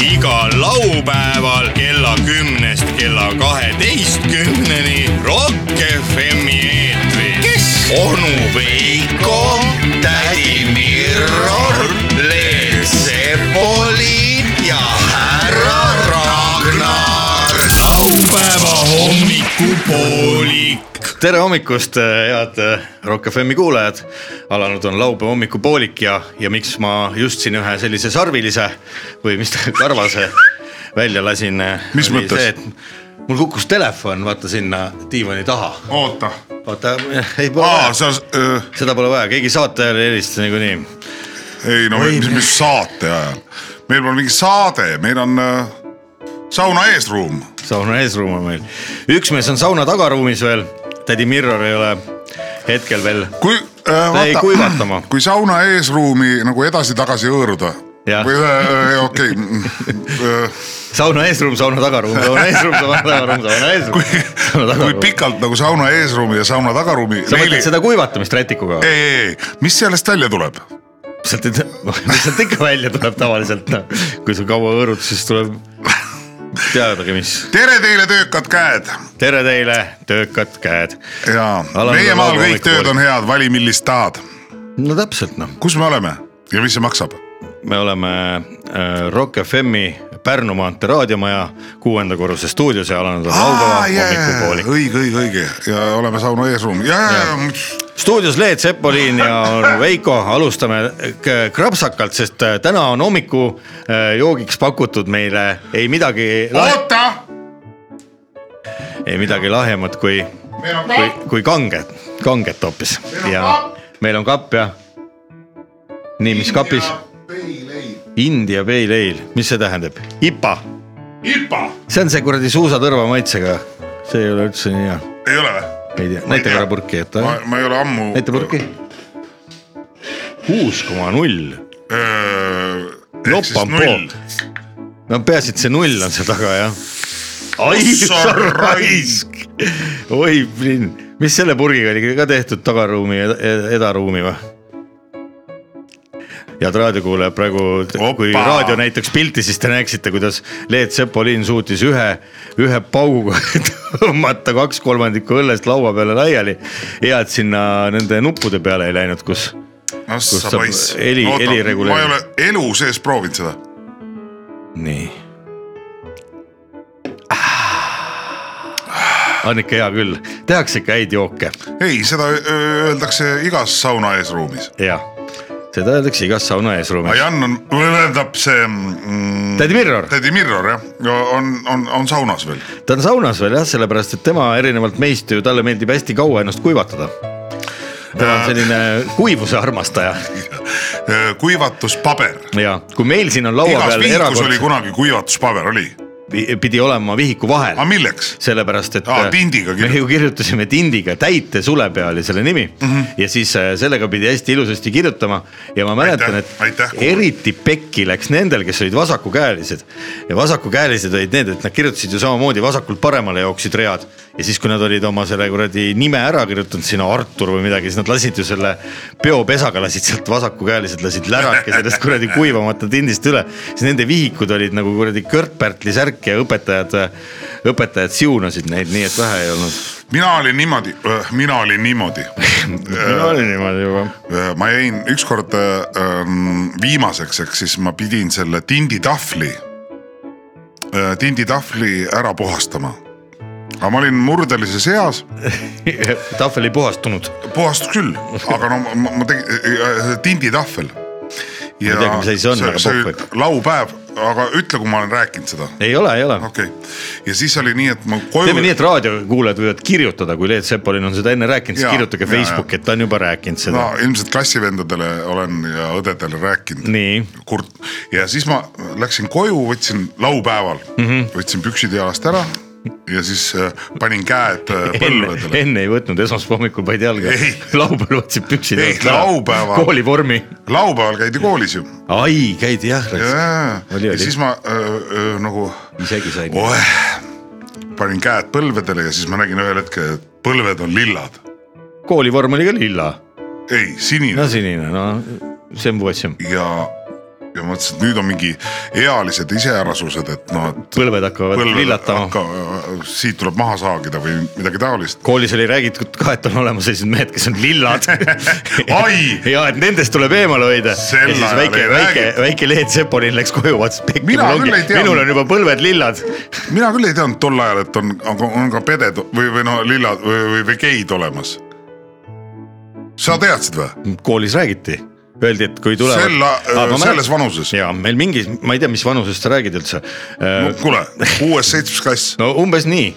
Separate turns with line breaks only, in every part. igal laupäeval kella kümnest kella kaheteistkümneni Rock FM-i eetris . kes ? onu Veiko , tädi Mirror , Leel Sepoli ja härra Ragnar . laupäeva hommikupoolik .
tere hommikust , head Rock FM-i kuulajad . alanud on laupäeva hommikupoolik ja , ja miks ma just siin ühe sellise sarvilise või mis ta karvase välja lasin . äh,
Mis mõttes? ?
mul kukkus telefon , vaata sinna diivani taha .
oota ,
vaata , ei pole
aa
vaja ,
sa äh, ,
seda pole vaja , keegi saate ajal ei helista niikuinii .
ei no mis, mis saate ajal , meil pole mingi saade , meil on äh, sauna eesruum .
sauna eesruum on meil . üks mees on sauna tagaruumis veel , tädi Mirror ei ole hetkel veel
kui äh,
Ta jäi kuivatama.
kui sauna eesruumi nagu edasi-tagasi hõõruda
Jah.
või äh, okei äh, okay. ,
sauna eesruum , sauna tagaruum , sauna eesruum , sauna tagaruum , sauna eesruum .
kui pikalt nagu sauna eesruumi ja sauna tagaruumi .
sa mõtled seda kuivatamist rätikuga ?
ei , ei , ei , mis sellest välja tuleb ?
sealt ei tule , mis sealt ikka välja tuleb tavaliselt , kui sul kaua hõõrud , siis tuleb teadagi , mis .
tere teile , töökad käed
tere teile , töökad käed .
ja
Alanud
meie
on
maal
laupäeva
kõik tööd on head , vali millist tahad .
no täpselt noh ,
kus me oleme ja mis see maksab ?
me oleme äh, Rock FM-i Pärnu maantee raadiomaja kuuenda korruse stuudios ja alanud on laupäeva
Aa, jaa, jaa, jaa,
hommikupoolik .
õige , õige , õige ja oleme sauna eesruumi ja , ja , ja
stuudios Leet Sepolin ja onu Veiko , alustame k- krapsakalt , sest äh, täna on hommiku äh, joogiks pakutud meile ei midagi ,
oota ,
ei midagi lahjemat kui
meil on
kui , kui kanged , kanget hoopis
on
ja
kapp.
meil on kapp ja . nii , mis kapis ?
peileib .
India Pale Ale , mis see tähendab ? IPA ,
IPA
see on see kuradi suusatõrva maitsega . see ei ole üldse nii hea ,
ei ole või ?
ei tea , näita korra purki , et
ma , ma ei ole ammu .
näita purki . kuus koma null ,
äh, Lopp
lopp on pool . no peaasi , et see null on seal taga jah . ai
Ossa
sa
raisk!
raisk , oi plinn , mis selle purgiga oli ka tehtud , tagaruumi ja ed- edaruumi või ? head raadiokuulajad , praegu t-
Opa!
kui raadio näitaks pilti , siis te näeksite , kuidas Leet Sepolin suutis ühe , ühe pauguga tõmmata kaks kolmandikku õllest laua peale laiali . hea , et sinna nende nuppude peale ei läinud , kus
kus
saab heli- heli
ma ei
reguleerida.
ole elu sees proovinud seda .
nii . Ah. on ikka hea küll , tehakse ikka häid jooke
ei , seda öö, öeldakse igas sauna eesruumis .
ja seda öeldakse igas sauna eesruumis .
Jan on , tähendab see mm,
tädi Mirror ,
tädi Mirror jah , on , on , on saunas veel .
ta on saunas veel jah , sellepärast et tema erinevalt meist ju talle meeldib hästi kaua ennast kuivatada . ta on selline kuivuse armastaja
kuivatuspaber
ja kui meil siin on laua
igas
peal
vihikus oli
erakord ,
kunagi kuivatuspaber , oli .
pidi olema vihiku vahel
aga . milleks ?
sellepärast , et äh,
Aa, tindiga
me ju
kirjutati.
kirjutasime tindiga täite sulepea oli selle nimi mm -hmm. ja siis äh, sellega pidi hästi ilusasti kirjutama ja ma mäletan ,
Aitäh,
et
aitäh, kuulajad.
eriti pekki läks nendel , kes olid vasakukäelised ja vasakukäelised olid need , et nad kirjutasid ju samamoodi vasakult paremale jooksid read ja siis , kui nad olid oma selle kuradi nime ära kirjutanud sinna Artur või midagi , siis nad lasid ju selle peopesaga lasid sealt vasakukäelised lasid lärake sellest kuradi kuivamata tindist üle , siis nende vihikud olid nagu kuradi Kört-Pärtli särk ja õpetajad , õpetajad siunasid neid nii , et vähe ei olnud .
mina olin niimoodi , mina olin niimoodi .
oli niimoodi juba .
ma jäin ükskord äh, viimaseks , ehk siis ma pidin selle tinditahvli , tinditahvli ära puhastama . aga ma olin murdelises eas ,
tahvel ei puhastunud ,
puhastus küll , aga no ma, ma tegin äh, tinditahvel . ma
ei teagi, mis asi see on, aga
see oli
pohhu.
laupäev , aga ütle , kui ma olen rääkinud seda ,
ei ole , ei ole
okei okay. . ja siis oli nii , et ma koju .
teeme nii , et raadiokuulajad võivad kirjutada , kui Leet Sepolin on seda enne rääkinud , siis
Jaa,
kirjutage
jaa,
Facebooki , et ta on juba rääkinud seda
no ilmselt klassivendadele olen ja õdedele rääkinud .
Nii.
kurt ja siis ma läksin koju , võtsin laupäeval mm ,
Mhm.
-hmm. võtsin püksid jalast ära ja siis äh, panin käed äh,
enne ,
põlvedele .
enne ei võtnud esmaspäeva hommikul vaid jalga
Ei. ,
laupäeval võtsid püksid
Ei,
alt ära.
laupäeval.
koolivormi .
laupäeval käidi koolis ju .
ai , käidi jah ,
ja
Oli, oli.
siis ma öö, öö, nagu
isegi sain oh. .
oeh, panin käed põlvedele ja siis ma nägin ühel hetkel , et põlved on lillad .
koolivorm oli ka lilla ,
ei , sinine
no
no.
sinine , no see on puhasem .
ja ja mõtlesin , et nüüd on mingi ealised iseärasused , et noh , et
põlved hakkavad
põlved
villatama .
hakka- ah, siit tuleb maha saagida või midagi taolist .
koolis oli räägitud ka , et on olemas sellised mehed , kes on lillad
Ai!
ja et nendest tuleb eemale hoida .
Sel
ja siis
ajal
väike
ei ,
väike ,
räägitud.
väike Leet Sepolin läks koju , vaatas pekki ,
Mina
mul
küll ei
ongi ,
teadnud.
minul on juba põlved lillad .
mina küll ei teadnud tol ajal , et on , on ka peded või , või no lillad või , või , või geid olemas . sa teadsid või ?
koolis räägiti , öeldi , et kui tulevad .
Sel- , selles vanuses .
ja meil mingis , ma ei tea , mis vanusest sa räägid üldse . Äh,
kuule , kuues-seitsmes klass ,
no umbes nii ,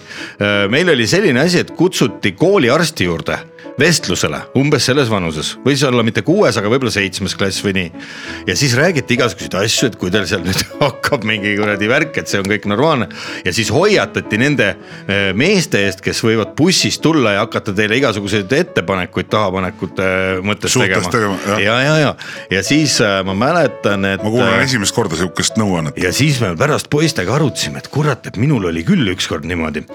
meil oli selline asi , et kutsuti kooliarsti juurde vestlusele umbes selles vanuses , võis olla mitte kuues , aga võib-olla seitsmes klass või nii . ja siis räägiti igasuguseid asju , et kui teil seal nüüd hakkab mingi kuradi värk , et see on kõik normaalne ja siis hoiatati nende öö, meeste eest , kes võivad bussis tulla ja hakata teile igasuguseid ettepanekuid tahapanekute äh, mõttes
Suhtes
tegema,
tegema, jah.
ja , ja , ja , ja siis äh, ma mäletan , et . äh,
ma kuulen esimest korda sihukest nõuannet .
ja siis me pärast poistega arutasime , et kurat , et minul oli küll ükskord niimoodi .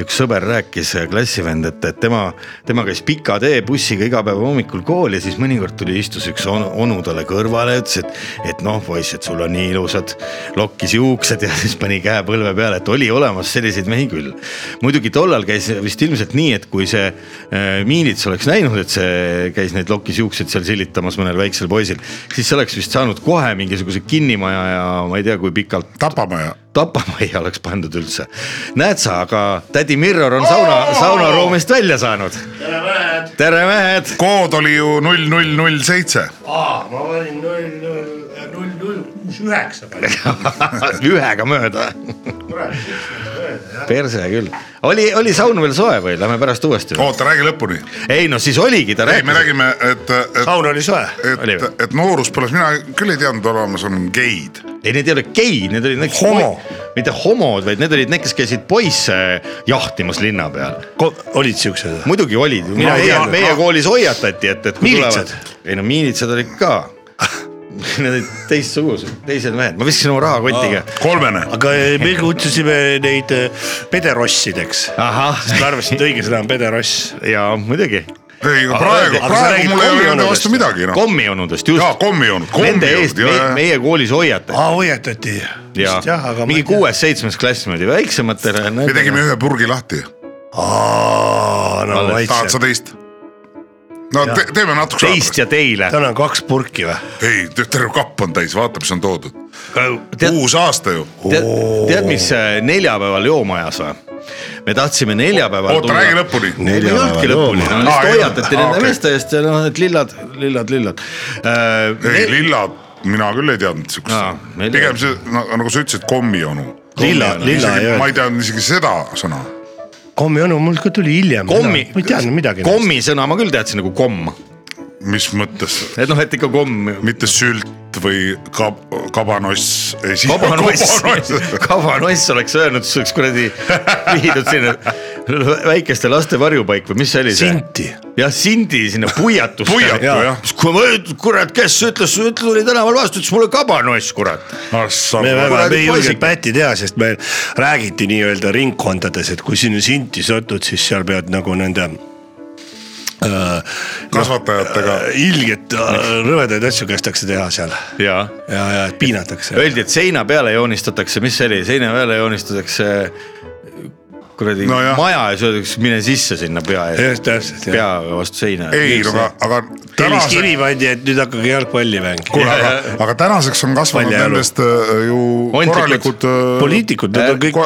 üks sõber rääkis , klassivend , et , et tema , tema käis pika tee bussiga iga päev hommikul kooli ja siis mõnikord tuli , istus üks onu, onu talle kõrvale , ütles , et , et noh , poiss , et sul on nii ilusad , lokkis juuksed ja siis pani käe põlve peale , et oli olemas selliseid mehi küll . muidugi tollal käis vist ilmselt nii , et kui see äh, Miilits oleks näinud , et see käis neid lokkis juukseid seal silitamas mõnel väiksel poisil , siis see oleks vist saanud kohe mingisuguse kinnimaja ja ma ei tea , kui pikalt
tapamaja ,
tapamajja oleks pandud üldse . näed sa , aga tädi Mirror on sauna , saunaruumist välja saanud .
tere mehed ,
tere mehed ,
kood oli ju null , null , null , seitse .
ma panin null , null , null , null , kuus , üheksa panin .
ühega mööda . perse küll , oli , oli saun veel soe või lähme pärast uuesti või ?
oota , räägi lõpuni .
ei no siis oligi , ta
ei , me
rääkis ,
räägime , et , et ,
saun oli soe .
Oli
et
või? ,
et nooruspõlves mina küll ei teadnud , olemas on geid .
ei need ei ole geid , need olid need
Homo. ,
mitte homod , vaid need olid need , kes käisid poisse jahtimas linna peal .
olid siuksed või ?
muidugi olid ,
Mina ei
meie,
teadnud.
meie koolis hoiatati , et , et kui
Miilitsad?
tulevad , ei no miilitsad olid ka Need olid teistsugused , teised mehed , ma viskasin oma rahakotiga .
kolmene .
aga äh, me kutsusime neid eh, pederossideks .
ahah ,
ma arvasin , et õige sõna on pedeross .
ja muidugi
ei ,
Aga
aga praegu ,
räägi-
aga sa räägid
praegu mul ei ole nende
kommijonudest.
vastu midagi noh .
kommijonudest
jaa ,
just ,
kommijoonud ,
nende eest
kommijoonud
me,
ja , ja ,
meie koolis hoiatati
aa , hoiatati .
ja,
jah , aga .
mingi . kuues-seitsmes klass niimoodi väiksematele .
me tegime ühe purgi lahti .
aa , no
Alles.
tahad sa
maitse .
teist ? no te, teeme natuke .
teist ja teile .
täna on kaks purki või ?
ei , terve kapp on täis , vaata , mis on toodud .
tead ,
uus aasta ju .
tead , tead , mis äh, neljapäeval joomajas või ? me tahtsime neljapäeval .
oota , räägi . lõpuni .
ei
Neljapäeval
olnudki lõpuni , no
jooma.
lihtsalt
Aa, ei
hoiatati
olnud. Aa,
nende
okei.
meeste eest ja noh , et lillad , lillad , lillad . Äh,
ei , lillad , mina küll ei teadnud
Aa,
siukest .
meil
pigem
ei-
see , nagu sa ütlesid , kommionu .
lilla , lilla ei
ma
öelnud .
ei teadnud isegi seda sõna .
kommi onu mul ka tuli hiljem .
kommi
ma ei teadnud midagi .,
kommi sõna ma küll teadsin nagu komm ,
mis mõttes ,
et noh , et ikka komm .
mitte sült või kab- , kabanoss .
kabanoiss , kabanoiss oleks öelnud , siis oleks kuradi viidud sinna väikeste laste varjupaik või mis see oli see ?
Sinti. .
jah , Sindi sinna puiatusse .
puiatu
Jaa.
jah .
kui ma ütlen , kurat , kes ütles , tuli tänaval vastu , ütles mulle kabanoiss , kurat .
me väga , me ei
poisid-
julgenud pätti teha , sest meil räägiti nii-öelda ringkondades , et kui sinna Sinti satud , siis seal pead nagu nende äh,
kasvatajatega .
ilget äh, rõvedaid asju kästakse teha seal
jaa
ja , ja piinatakse .
Öeldi , et seina peale joonistatakse , mis see oli , seina peale joonistatakse äh, kuradi no,
Nojah.
maja ja siis öeldakse , mine sisse sinna pea ees ,
just täpselt , jah .
peaga vastu seina .
ei , aga , aga tänase ,
telliskivi pandi , et nüüd hakake jalgpalli mängima .
kuule , aga , aga tänaseks on kasvanud
Paljajalu.
nendest äh, ju
Ontlikud.
korralikud äh,
poliitikud , nad on kõik ,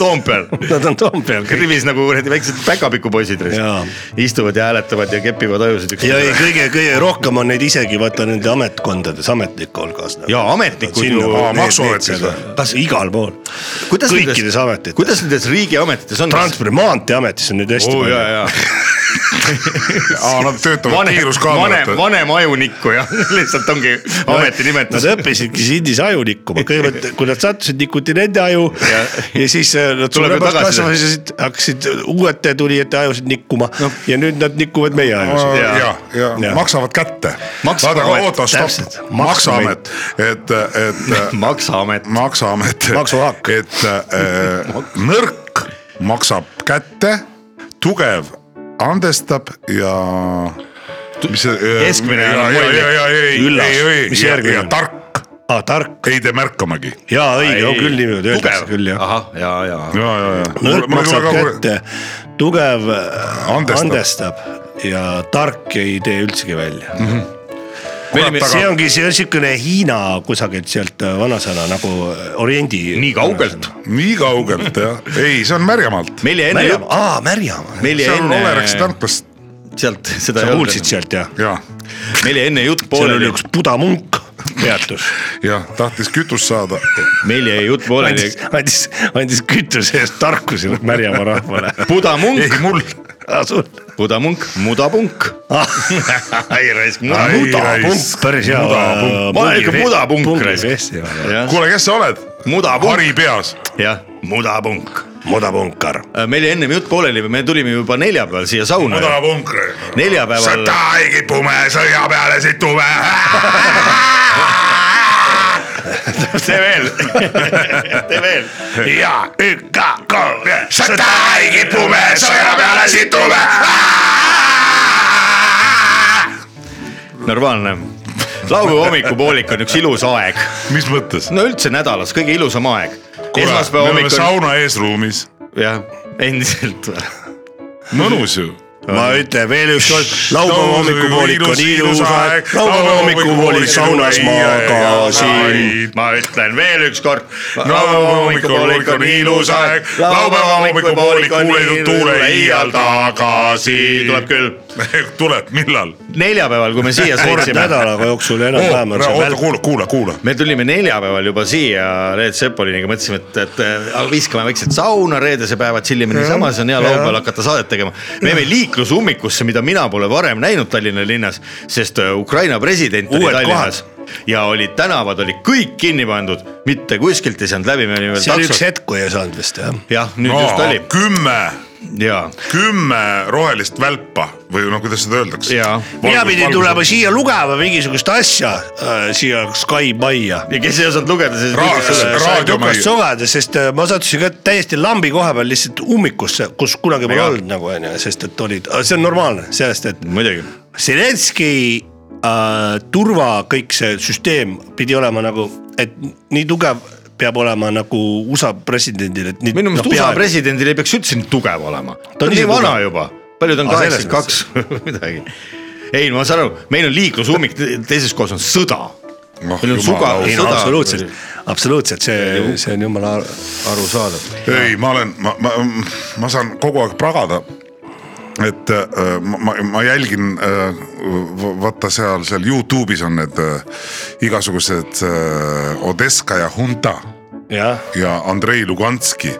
Toompeal
nad on Toompeal kõik .
rivis nagu kuradi väiksed päkapikupoisid
Jaa.
istuvad ja hääletavad ja kepivad ajusid
ja
üksteisele
ei , kõige , kõige rohkem on neid isegi vaata nende ametkondades , ametnike hulgas . nagu-
Jaa, ametnikud ju-
Aa, maksuametis või?
kas igal pool ,
Kuidas nendes-
kõikides ametites.
kuidas nendes riigiametites on ?
transpordi , maanteeametis on neid hästi
oo jaa , jaa .
aa , nad töötavad
vanem , vanem ,
kiiruskaamerate .
vanem ajunikku ja lihtsalt ongi ameti nimetus
Nad . õppisidki Sindis aju nikkuma , kõigepealt kui nad sattusid , nikuti nende aju ja,
Ja-
ja siis äh, nad
Tuleb ju
suuremaks
tagasi.
kasvasid , hakkasid uuete tulijate ajusid nikkuma no. ja nüüd nad nikuvad meie ajusid .
Jaa.
ja , ja
Jaa.
Äh, maksavad kätte .
Maksavad,
vaata , aga oota ,
täpselt,
stopp ,
maksuamet.
maksuamet , et , et
maksaamet .
maksuamet ,
Maksuhaak.
et äh, nõrk maksab kätte , tugev andestab ja mis see .
Keskmine
ja ,
enam
ja ,
ei
ja , ja , ei ,
Üllas.
ei , ei ,
Mis
ja ,
järgmine
ja
on?
tark ,
aa , tark
ei te märkamagi .
jaa , õige , on küll niimoodi öeldakse küll jah .
ahah , ja , ja .
ja , ja , ja .
nõrk maksab kätte , tugev äh,
Andestab.
andestab. andestab ja tark ei tee üldsegi välja
Mhm.
mm . -hmm
Kurat,
Meil,
aga-
see ongi see siukene Hiina kusagilt sealt äh, vanasõna nagu äh, oriendi .
nii kaugelt .
nii kaugelt jah , ei , see on Märjamaalt .
meil jäi enne ,
Märjamaa , aa Märjamaa .
meil jäi
seal on Olereksi
enne
tanklast
sealt seda
sa
ei
kuulsid
olnud ,
sealt jah ?
ja ,
meil jäi enne jutt
seal oli
pooleli ,
üks budamunk peatus ,
jah , tahtis kütust saada .
meil jäi jutt pooleli
andis , andis , andis kütuse eest tarkusi Märjamaa rahvale .
pudamunk ,
ei mul ,
pudamunk , mudapunk .
ai raisk ,
Ai,
mudapunk ,
raisk,
Ah, päris hea .
mudapunk.
Ma olen ikka mudapunk, raisk. jah ,
kuule , kes sa oled ?
mudapunk ,
hari peas ,
jah , mudapunk .
mudapunkar .
meil jäi ennem jutt pooleli , me tulime juba neljapäeval siia sauna .
mudapunkri .
neljapäeval ,
sõda ei kipu me sõja peale situme .
tee veel , tee veel .
ja ükka kolme ,
sõda ei kipu me sõja peale situme .
normaalne . laupäeva hommikupoolik on üks ilus aeg ,
mis mõttes ?
no üldse nädalas kõige ilusam aeg .
kuule , me
esmaspäeva
oleme
hommik on ,
sauna eesruumis ,
jah , endiselt .
mõnus ju
ma ütlen veel üks kord , laupäeva hommikupoolik on ilus aeg , laupäeva hommikupoolik saunas magasin .
ma ütlen veel ükskord .
laupäeva hommikupoolik on ilus aeg , laupäeva hommikupoolik kuuletud tuule iial tagasi .
tuleb küll .
tuleb , millal ?
neljapäeval , kui me siia
kord
sõitsime ,
nädalaga jooksul enam-vähem on see
oota ,
mälu .
kuula , kuula , kuula .
me tulime neljapäeval juba siia Reet Sepoliniga , mõtlesime , et , et äh, viskame vaikselt sauna reedese päeva , tšillime niisama , siis on hea laupäeval hakata saadet tegema . me jäime liiklusummikusse , mida mina pole varem näinud Tallinna linnas , sest äh, Ukraina president oli
Uued
Tallinnas ja olid tänavad olid kõik kinni pandud , mitte kuskilt ei saanud läbi , me olime
see oli üks
taksos .
hetk , kui ei saanud vist jah .
jah , nüüd just oli
kümme ,
ja ,
kümme rohelist välpa või no kuidas seda öeldakse .
ja ,
mina pidin tulema siia lugema mingisugust asja äh, siia Sky Majja . Äh,
ja kes ei osanud lugeda , siis
Ra-
ütles
ra-
sulle .
raadiomajja . sogada , sest äh, ma sattusin ka täiesti lambi koha peal lihtsalt ummikusse , kus kunagi pole olnud nagu onju , sest et olid , see on normaalne sellest , et
muidugi ,
Zelenskõi äh, turva , kõik see süsteem pidi olema nagu , et nii tugev peab olema nagu USA presidendil , et nii . noh,
minu meelest USA . presidendil ei peaks üldse nii tugev olema , ta on
ise
nii vana
tugev.
juba , palju ta on ,
Aa, selles
kaheksakümmend kaks või midagi . ei , ma saan aru , meil on liiklusummik , teises kohas on sõda .
Noh,
meil on suga ,
ei no absoluutselt , absoluutselt see , see on jumala ar- arusaadav .
ei , ma olen , ma , ma , ma saan kogu aeg pragada . et äh, ma, ma , ma jälgin äh, , vaata seal , seal Youtube'is on need äh, igasugused äh, Odeska ja Hunta
jah ,
ja Andrei Luganski .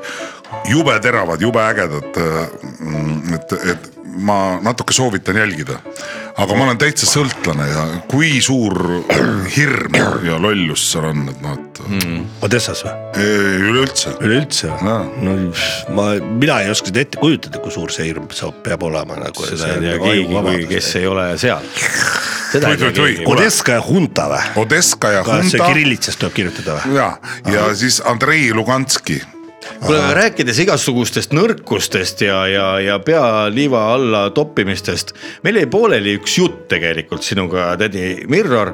jube teravad , jube ägedad äh, , et , et ma natuke soovitan jälgida . aga ma olen täitsa sõltlane ja kui suur hirm ja lollus seal on , et noh , et
Hmm.
mm.
Odessas või ,
üleüldse .
üleüldse või
Jaa.
no ma , mina ei oska seda ette kujutada , kui suur see hirm saab , peab olema nagu .
seda ei tea keegi , kui kes ei ole seal . seda ei tea
Oi-oi-oi,
keegi .
Odeska ja Hunta või ?
Odeska ja
kas see
Hunta
kirillitsas tuleb kirjutada või ?
ja , ja siis Andrei Luganski .
kuule , aga rääkides igasugustest nõrkustest ja , ja , ja pea liiva alla toppimistest , meil jäi pooleli üks jutt tegelikult sinuga , tädi Mirror .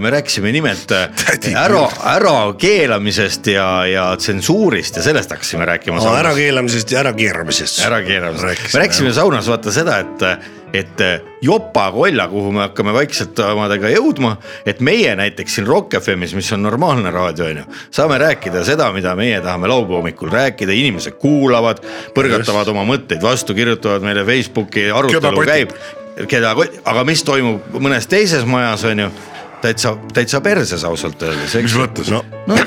me rääkisime nimelt äh, ära , ärakeelamisest ja , ja tsensuurist ja sellest hakkasime rääkima .
ärakeelamisest ja ärakeeramisest .
ärakeelamisest , me rääkisime saunas vaata seda , et , et jopakolla , kuhu me hakkame vaikselt omadega jõudma , et meie näiteks siin Rock FM-is , mis on normaalne raadio , on ju , saame rääkida seda , mida meie tahame laupäeva hommikul rääkida , inimesed kuulavad , põrgatavad oma mõtteid vastu , kirjutavad meile Facebooki , arutelu
potid.
käib , keda , aga mis toimub mõnes teises majas , on ju , täitsa , täitsa perses ausalt öeldes , eks
mis . mõttes no. ?
no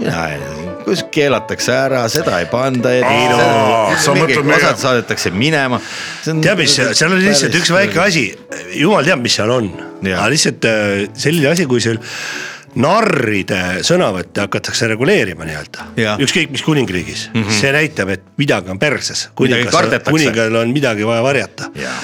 mina ei tea , kus keelatakse ära , seda ei panda .
Ei no, sa mõtled meie-
osad saadetakse minema .
tead , mis , seal on lihtsalt üks väike asi , jumal teab , mis seal on ,
Jaa.
aga lihtsalt äh, selline asi , kui seal narride sõnavõtte hakatakse reguleerima nii-öelda
Jah. .
ükskõik mis kuningriigis mm , -hmm. see näitab , et midagi on perses .
kardetakse.
kuningal on midagi vaja varjata
Jah. .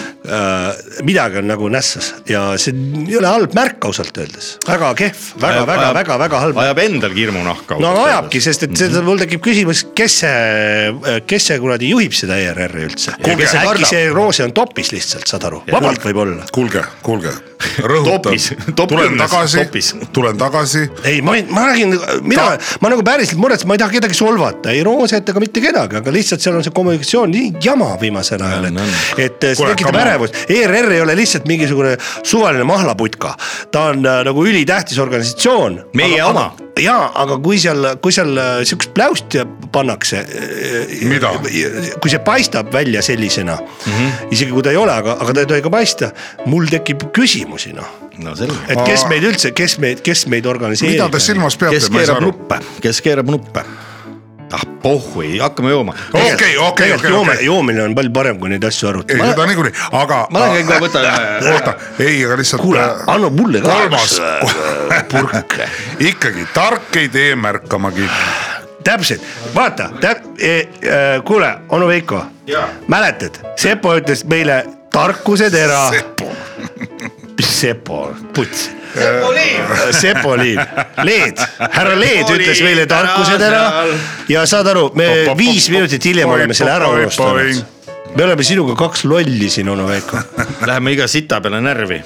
midagi on nagu nässas ja see ei ole halb märk ausalt öeldes , väga kehv , väga , väga , väga , väga halb .
ajab endalgi hirmu nahka .
no aga ajabki , sest et seda mul tekib küsimus , kes see , kes see kuradi juhib seda ERR-i üldse .
Kuulge, see
äkki
kardab?
see Roose on topis lihtsalt , saad aru , vabalt võib-olla .
kuulge , kuulge , rõhutan
Topis. Top ,
tulen
kümnes,
tagasi
topis. ,
tulen tagasi ,
ei , ma , ma räägin , mina , ma nagu päriselt mures , ma ei taha kedagi solvata , ei Rooset ega mitte kedagi , aga lihtsalt seal on see kommunikatsioon nii jama viimasel ajal ,
On, on.
et . et äh, see
Kuule,
tekitab
come on.
ärevust , ERR ei ole lihtsalt mingisugune suvaline mahlaputka , ta on äh, nagu ülitähtis organisatsioon .
Meie oma. .
jaa , aga kui seal , kui seal äh, sihukest pläust ja- pannakse . äh,
Mida? ? Mhm.
kui see paistab välja sellisena mm , -hmm. isegi kui ta ei ole , aga , aga ta ei tohi ka paista , mul tekib küsimusi noh ,
no selge .
et kes
Ma-
meid üldse , kes meid , kes meid organiseerib .
mida te silmas peate
kes ,
ma ei saa
keerab
aru .
nuppe , kes keerab nuppe ? ah pohhu , ei hakkame jooma .
okei , okei , okei ,
joome ,
okei ,
joomine on palju parem , kui neid asju
ei
arutada .
seda niikuinii , aga .
ma lähen käin kohe võtan ühe .
oota , ei , aga lihtsalt .
kuule , anna mulle ka
kolmas
purk .
ikkagi tark ei tee märkamagi .
täpselt , vaata täp, , e, e, kuule , onu Veiko , mäletad , Sepo ütles meile tarkuse tera ,
Sepo ,
Sepo , puts . Sepo Liiv , Leed , härra Leed
Sepo
ütles
Liiv
meile tarkuse tera
tänasel.
ja saad aru , me
Pop, pop,
viis
pop,
minutit hiljem
pop,
oleme selle ära
pop, pop,
unustanud me oleme sinuga kaks lolli siin , onu Veiko .
Läheme iga sita peale närvi .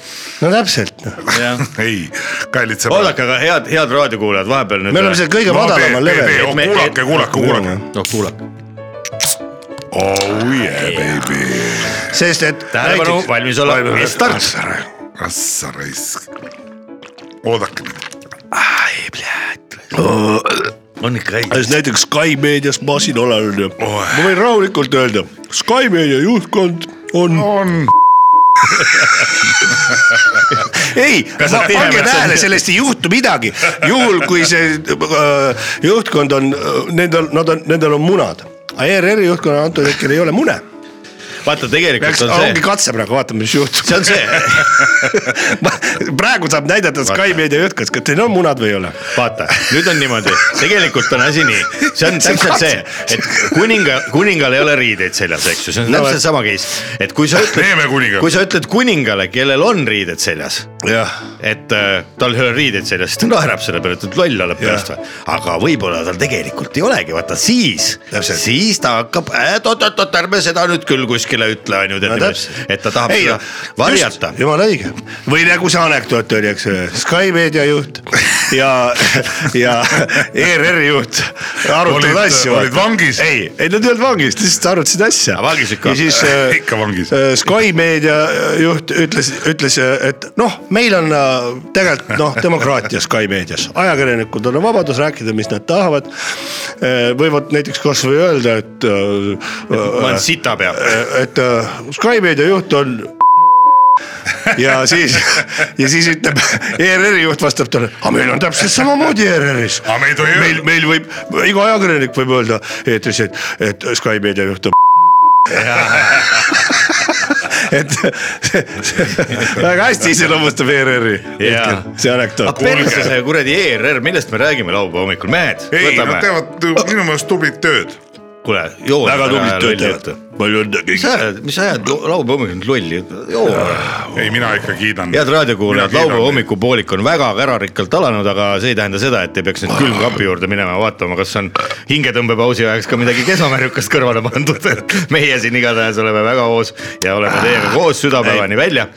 no täpselt , noh .
jah .
ei , kallid sõbrad .
oodake , aga head , head raadiokuulajad vahepeal nüüd .
me oleme seal kõige
No,
madalamal
tee- tee- tee-
levelil .
oh,
Noh.
kuulake, kuulake, kuulake.
no kuulake .
Oh yeah baby .
sest et .
tähelepanu , valmis olla , start .
rassa raisk . oodake ,
on ikka õige .
siis näiteks Sky meedias ma siin olen onju
Oh.
ma võin rahulikult öelda , Sky meedia juhtkond on .
on ,
ei ,
sa tead,
pange
et see on-
tähele , sellest ei juhtu midagi , juhul kui see äh, juhtkond on , nendel , nad on , nendel on munad . ERR-i juhtkonna antud hetkel ei ole mune ,
vaata , tegelikult
peaks ,
on
ongi
see ,
katse praegu , vaatame , mis juhtub .
see on see
praegu saab näidata Sky meedia juhtkond , kas teil on munad või ei ole .
vaata , nüüd on niimoodi , tegelikult on asi nii , see on
See on
täpselt
katse.
see , et kuninga , kuningal ei ole riideid seljas , eks ju , see on
No
täpselt
vot.
sama case , et kui sa
Neeme kuninga.
ütled , kui sa ütled kuningale , kellel on riided seljas ,
jah
et äh, tal ei ole riideid seljas , siis ta naerab selle peale , ütleb loll oled pärast või , aga võib-olla tal tegelikult ei olegi , vaata siis ,
Täpselt.
siis ta hakkab , et oot-oot-oot , ärme seda nüüd küll kuskile ütle , on ju ,
No
tead ,
täpselt.
et ta tahab
Ei,
seda varjata
just, . jumala õige või nagu see anekdoot oli , eks ju , Sky meedia juht ja , ja ERR-i juht arutavad
Olid-
asju .
olid vangis?
ei , ei nad ei olnud vangis , lihtsalt arutasid asja .
Aga Ah, vangis ikka.
ja siis äh,
Ikka vangis.
äh, Sky meedia äh, juht ütles , ütles , et noh , meil on äh, tegelikult noh , demokraatia Sky meedias , ajakirjanikud on vabadus rääkida , mis nad tahavad . võivad näiteks kasvõi öelda , et äh,
ma olen sita pea .
et äh, Sky meedia juht on ja siis , ja siis ütleb ERR-i juht vastab talle , aga meil on täpselt samamoodi ERR-is .
Aga me ei tohi
meil
öelda. ,
meil võib , iga ajakirjanik võib öelda eetris , et , et Sky meedia juht on . et väga hästi iseloomustab ERR-i
Jaa.
see anekdoot .
perse see kuradi ERR , millest me räägime laupäeva hommikul , mehed ,
ei , nad
võtame , Oh.
teevad minu meelest tublit tööd .
kuule , joo .
väga tublit tööd teevad .. palju õnne
mis sa
kõigile .
ajad , mis sa ajad lo- laupäeva hommikul nüüd lolli , joo .
ei , mina ikka kiidan .
head raadiokuulajad , laupäeva . hommikupoolik on väga kärarikkalt alanud , aga see ei tähenda seda , et ei peaks
Ah.
nüüd külmkapi juurde minema ja vaatama , kas on hingetõmbepausi ajaks ka midagi kesamärjukast kõrvale pandud . meie siin igatahes oleme väga hoos ja oleme teiega koos südapäevani välja .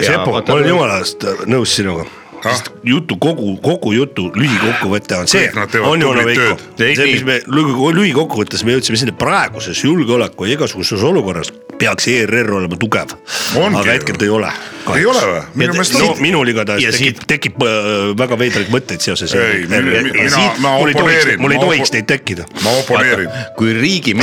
Sepo , ma olen jumala eest nõus sinuga
Ah.
sest jutu kogu , kogu jutu lühikokkuvõte on see
Kõik nad , teevad
on ju
tublit
Veiko ,
tööd.
see , mis me lühi- lühikokkuvõttes me jõudsime sinna , praeguses julgeoleku ja igasuguses olukorras peaks ERR olema tugev .
Ongi
aga
ju.
hetkel ta ei ole .
ei ole või ? minu meelest
no
on .
minul igatahes
ja
tekib ,
siit-
tekib äh, väga veidraid mõtteid seoses .
Ei, mi- mi- mina- ma
mul ei tohiks ,
oponeerin,
mul ei
ma
tohiks
opo-
neid tekkida .
ma oponeerin .
kui riigi ,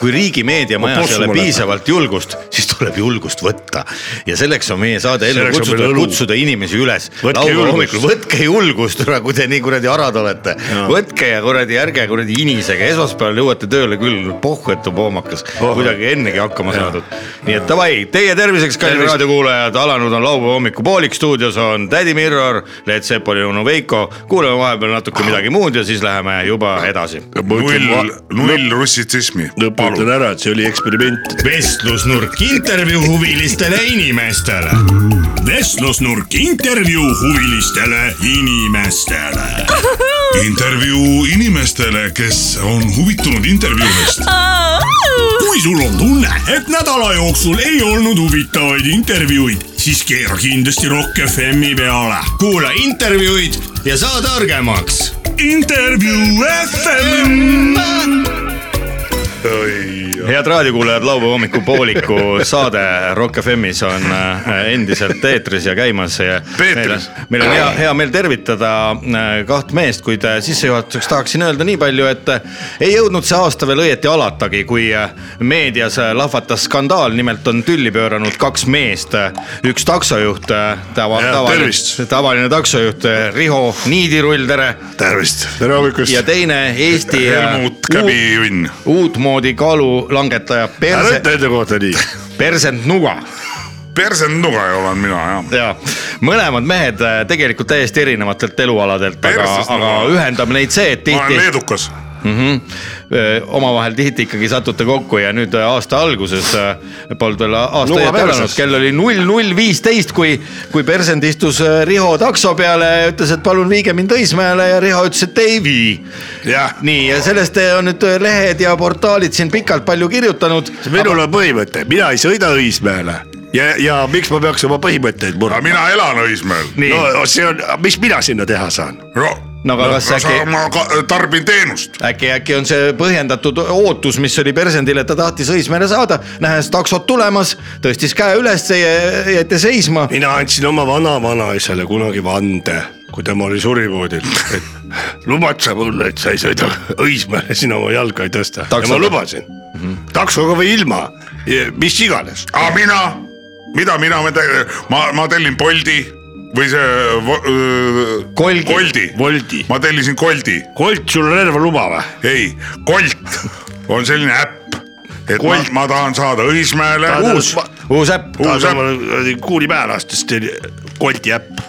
kui riigi meediamajas ei
possu
ole
mulle.
piisavalt julgust , siis tuleb julgust võtta . ja selleks on meie saade ellu
Selleks on
kutsuda
meil , õlu.
kutsuda inimesi üles .
Võtke julgust.
võtke julgust , kui te nii kuradi arad olete . võtke ja kuradi ärge kuradi inisege , esmaspäeval jõuate tööle küll , pohhu , et on poomakas . kuidagi ennegi hakkama saadud . nii et davai , teie terviseks , kallid raadiokuulajad , alanud alanud on laupäeva hommikupoolik , stuudios on tädi Mirror , Leet Sepol ja onu Veiko . kuulame vahepeal natuke midagi muud ja siis läheme juba edasi .
null , null russitsismi .
lõpetan ära , et see oli eksperiment .
vestlusnurk intervjuu huvilistele inimestele . vestlusnurk intervjuu huvilistele inimestele .
intervjuu inimestele , kes on huvitunud intervjuudest .
kui sul on tunne , et nädala jooksul ei olnud huvitavaid intervjuuid , siis keera kindlasti Rock FM-i peale . kuula intervjuud ja saa targemaks . intervjuu FM .
head raadiokuulajad , laupäeva hommikupooliku saade Rock FM-is on äh, endiselt eetris ja käimas .
Peetris.
meil on hea , hea meel tervitada äh, kaht meest , kuid äh, sissejuhatuseks tahaksin öelda nii palju , et äh, ei jõudnud see aasta veel õieti alatagi , kui äh, meedias äh, lahvatas skandaal , nimelt on tülli pööranud kaks meest , üks taksojuht , äh, tava ,
Jah, tervist.
tavaline , tavaline taksojuht äh, Riho Niidirull , tere .
tervist .
tere hommikust
ja . teine Eesti äh,
Helmut
uut-
Käbi-Junn .
uutmoodi kaalu langetaja
ära
Perse ,
ütle enda kohta nii .
Persent Nuga
persenduga olen mina jah .
ja mõlemad mehed äh, tegelikult täiesti erinevatelt elualadelt , aga
Persest ,
aga
Nuga.
ühendab neid see , et
ma olen
tihti
leedukas .
mm -hmm, omavahel tihti ikkagi satute kokku ja nüüd äh, aasta alguses äh, polnud veel aasta
Nuga
eest
perses.
alanud , kell oli null null viisteist , kui , kui Persend istus äh, Riho takso peale ja ütles , et palun viige mind Õismäele ja Riho ütles , et ei vii .
jah .
nii ja sellest äh, on nüüd äh, lehed ja portaalid siin pikalt palju kirjutanud .
minul on põhimõte , mina ei sõida Õismäele ja , ja miks ma peaks oma põhimõtteid
aga
murdma ?
mina elan Õismäel .
Nii.
no see on , mis mina sinna teha saan ?
no
No aga kas äkki-
ma ka- tarbin teenust .
äkki , äkki on see põhjendatud ootus , mis oli Persendil , et ta tahtis Õismäele saada , nähes taksot tulemas , tõstis käe üles , jäeti seisma .
mina andsin oma vana-vanaisale kunagi vande , kui tema oli surimoodil , et lubad sa mulle , et sa ei sõida Õismäele , sina oma jalga ei tõsta . ja ma
Taksoga.
lubasin mm , -hmm. taksoga või ilma , mis iganes .
aga mina , mida mina , ma , ma tellin Bolti või see vo- öö,
Kolgi.
Koldi ,
Woldi ,
ma tellisin Koldi ,
Kolt , sul on relvaluba või ?
ei , Kolt on selline äpp , et ma,
Kolt.
ma tahan saada Õismäele .
Uus.
uus äpp ,
Uus äpp.
kuuli pähe lasta , sest see oli Bolti äpp .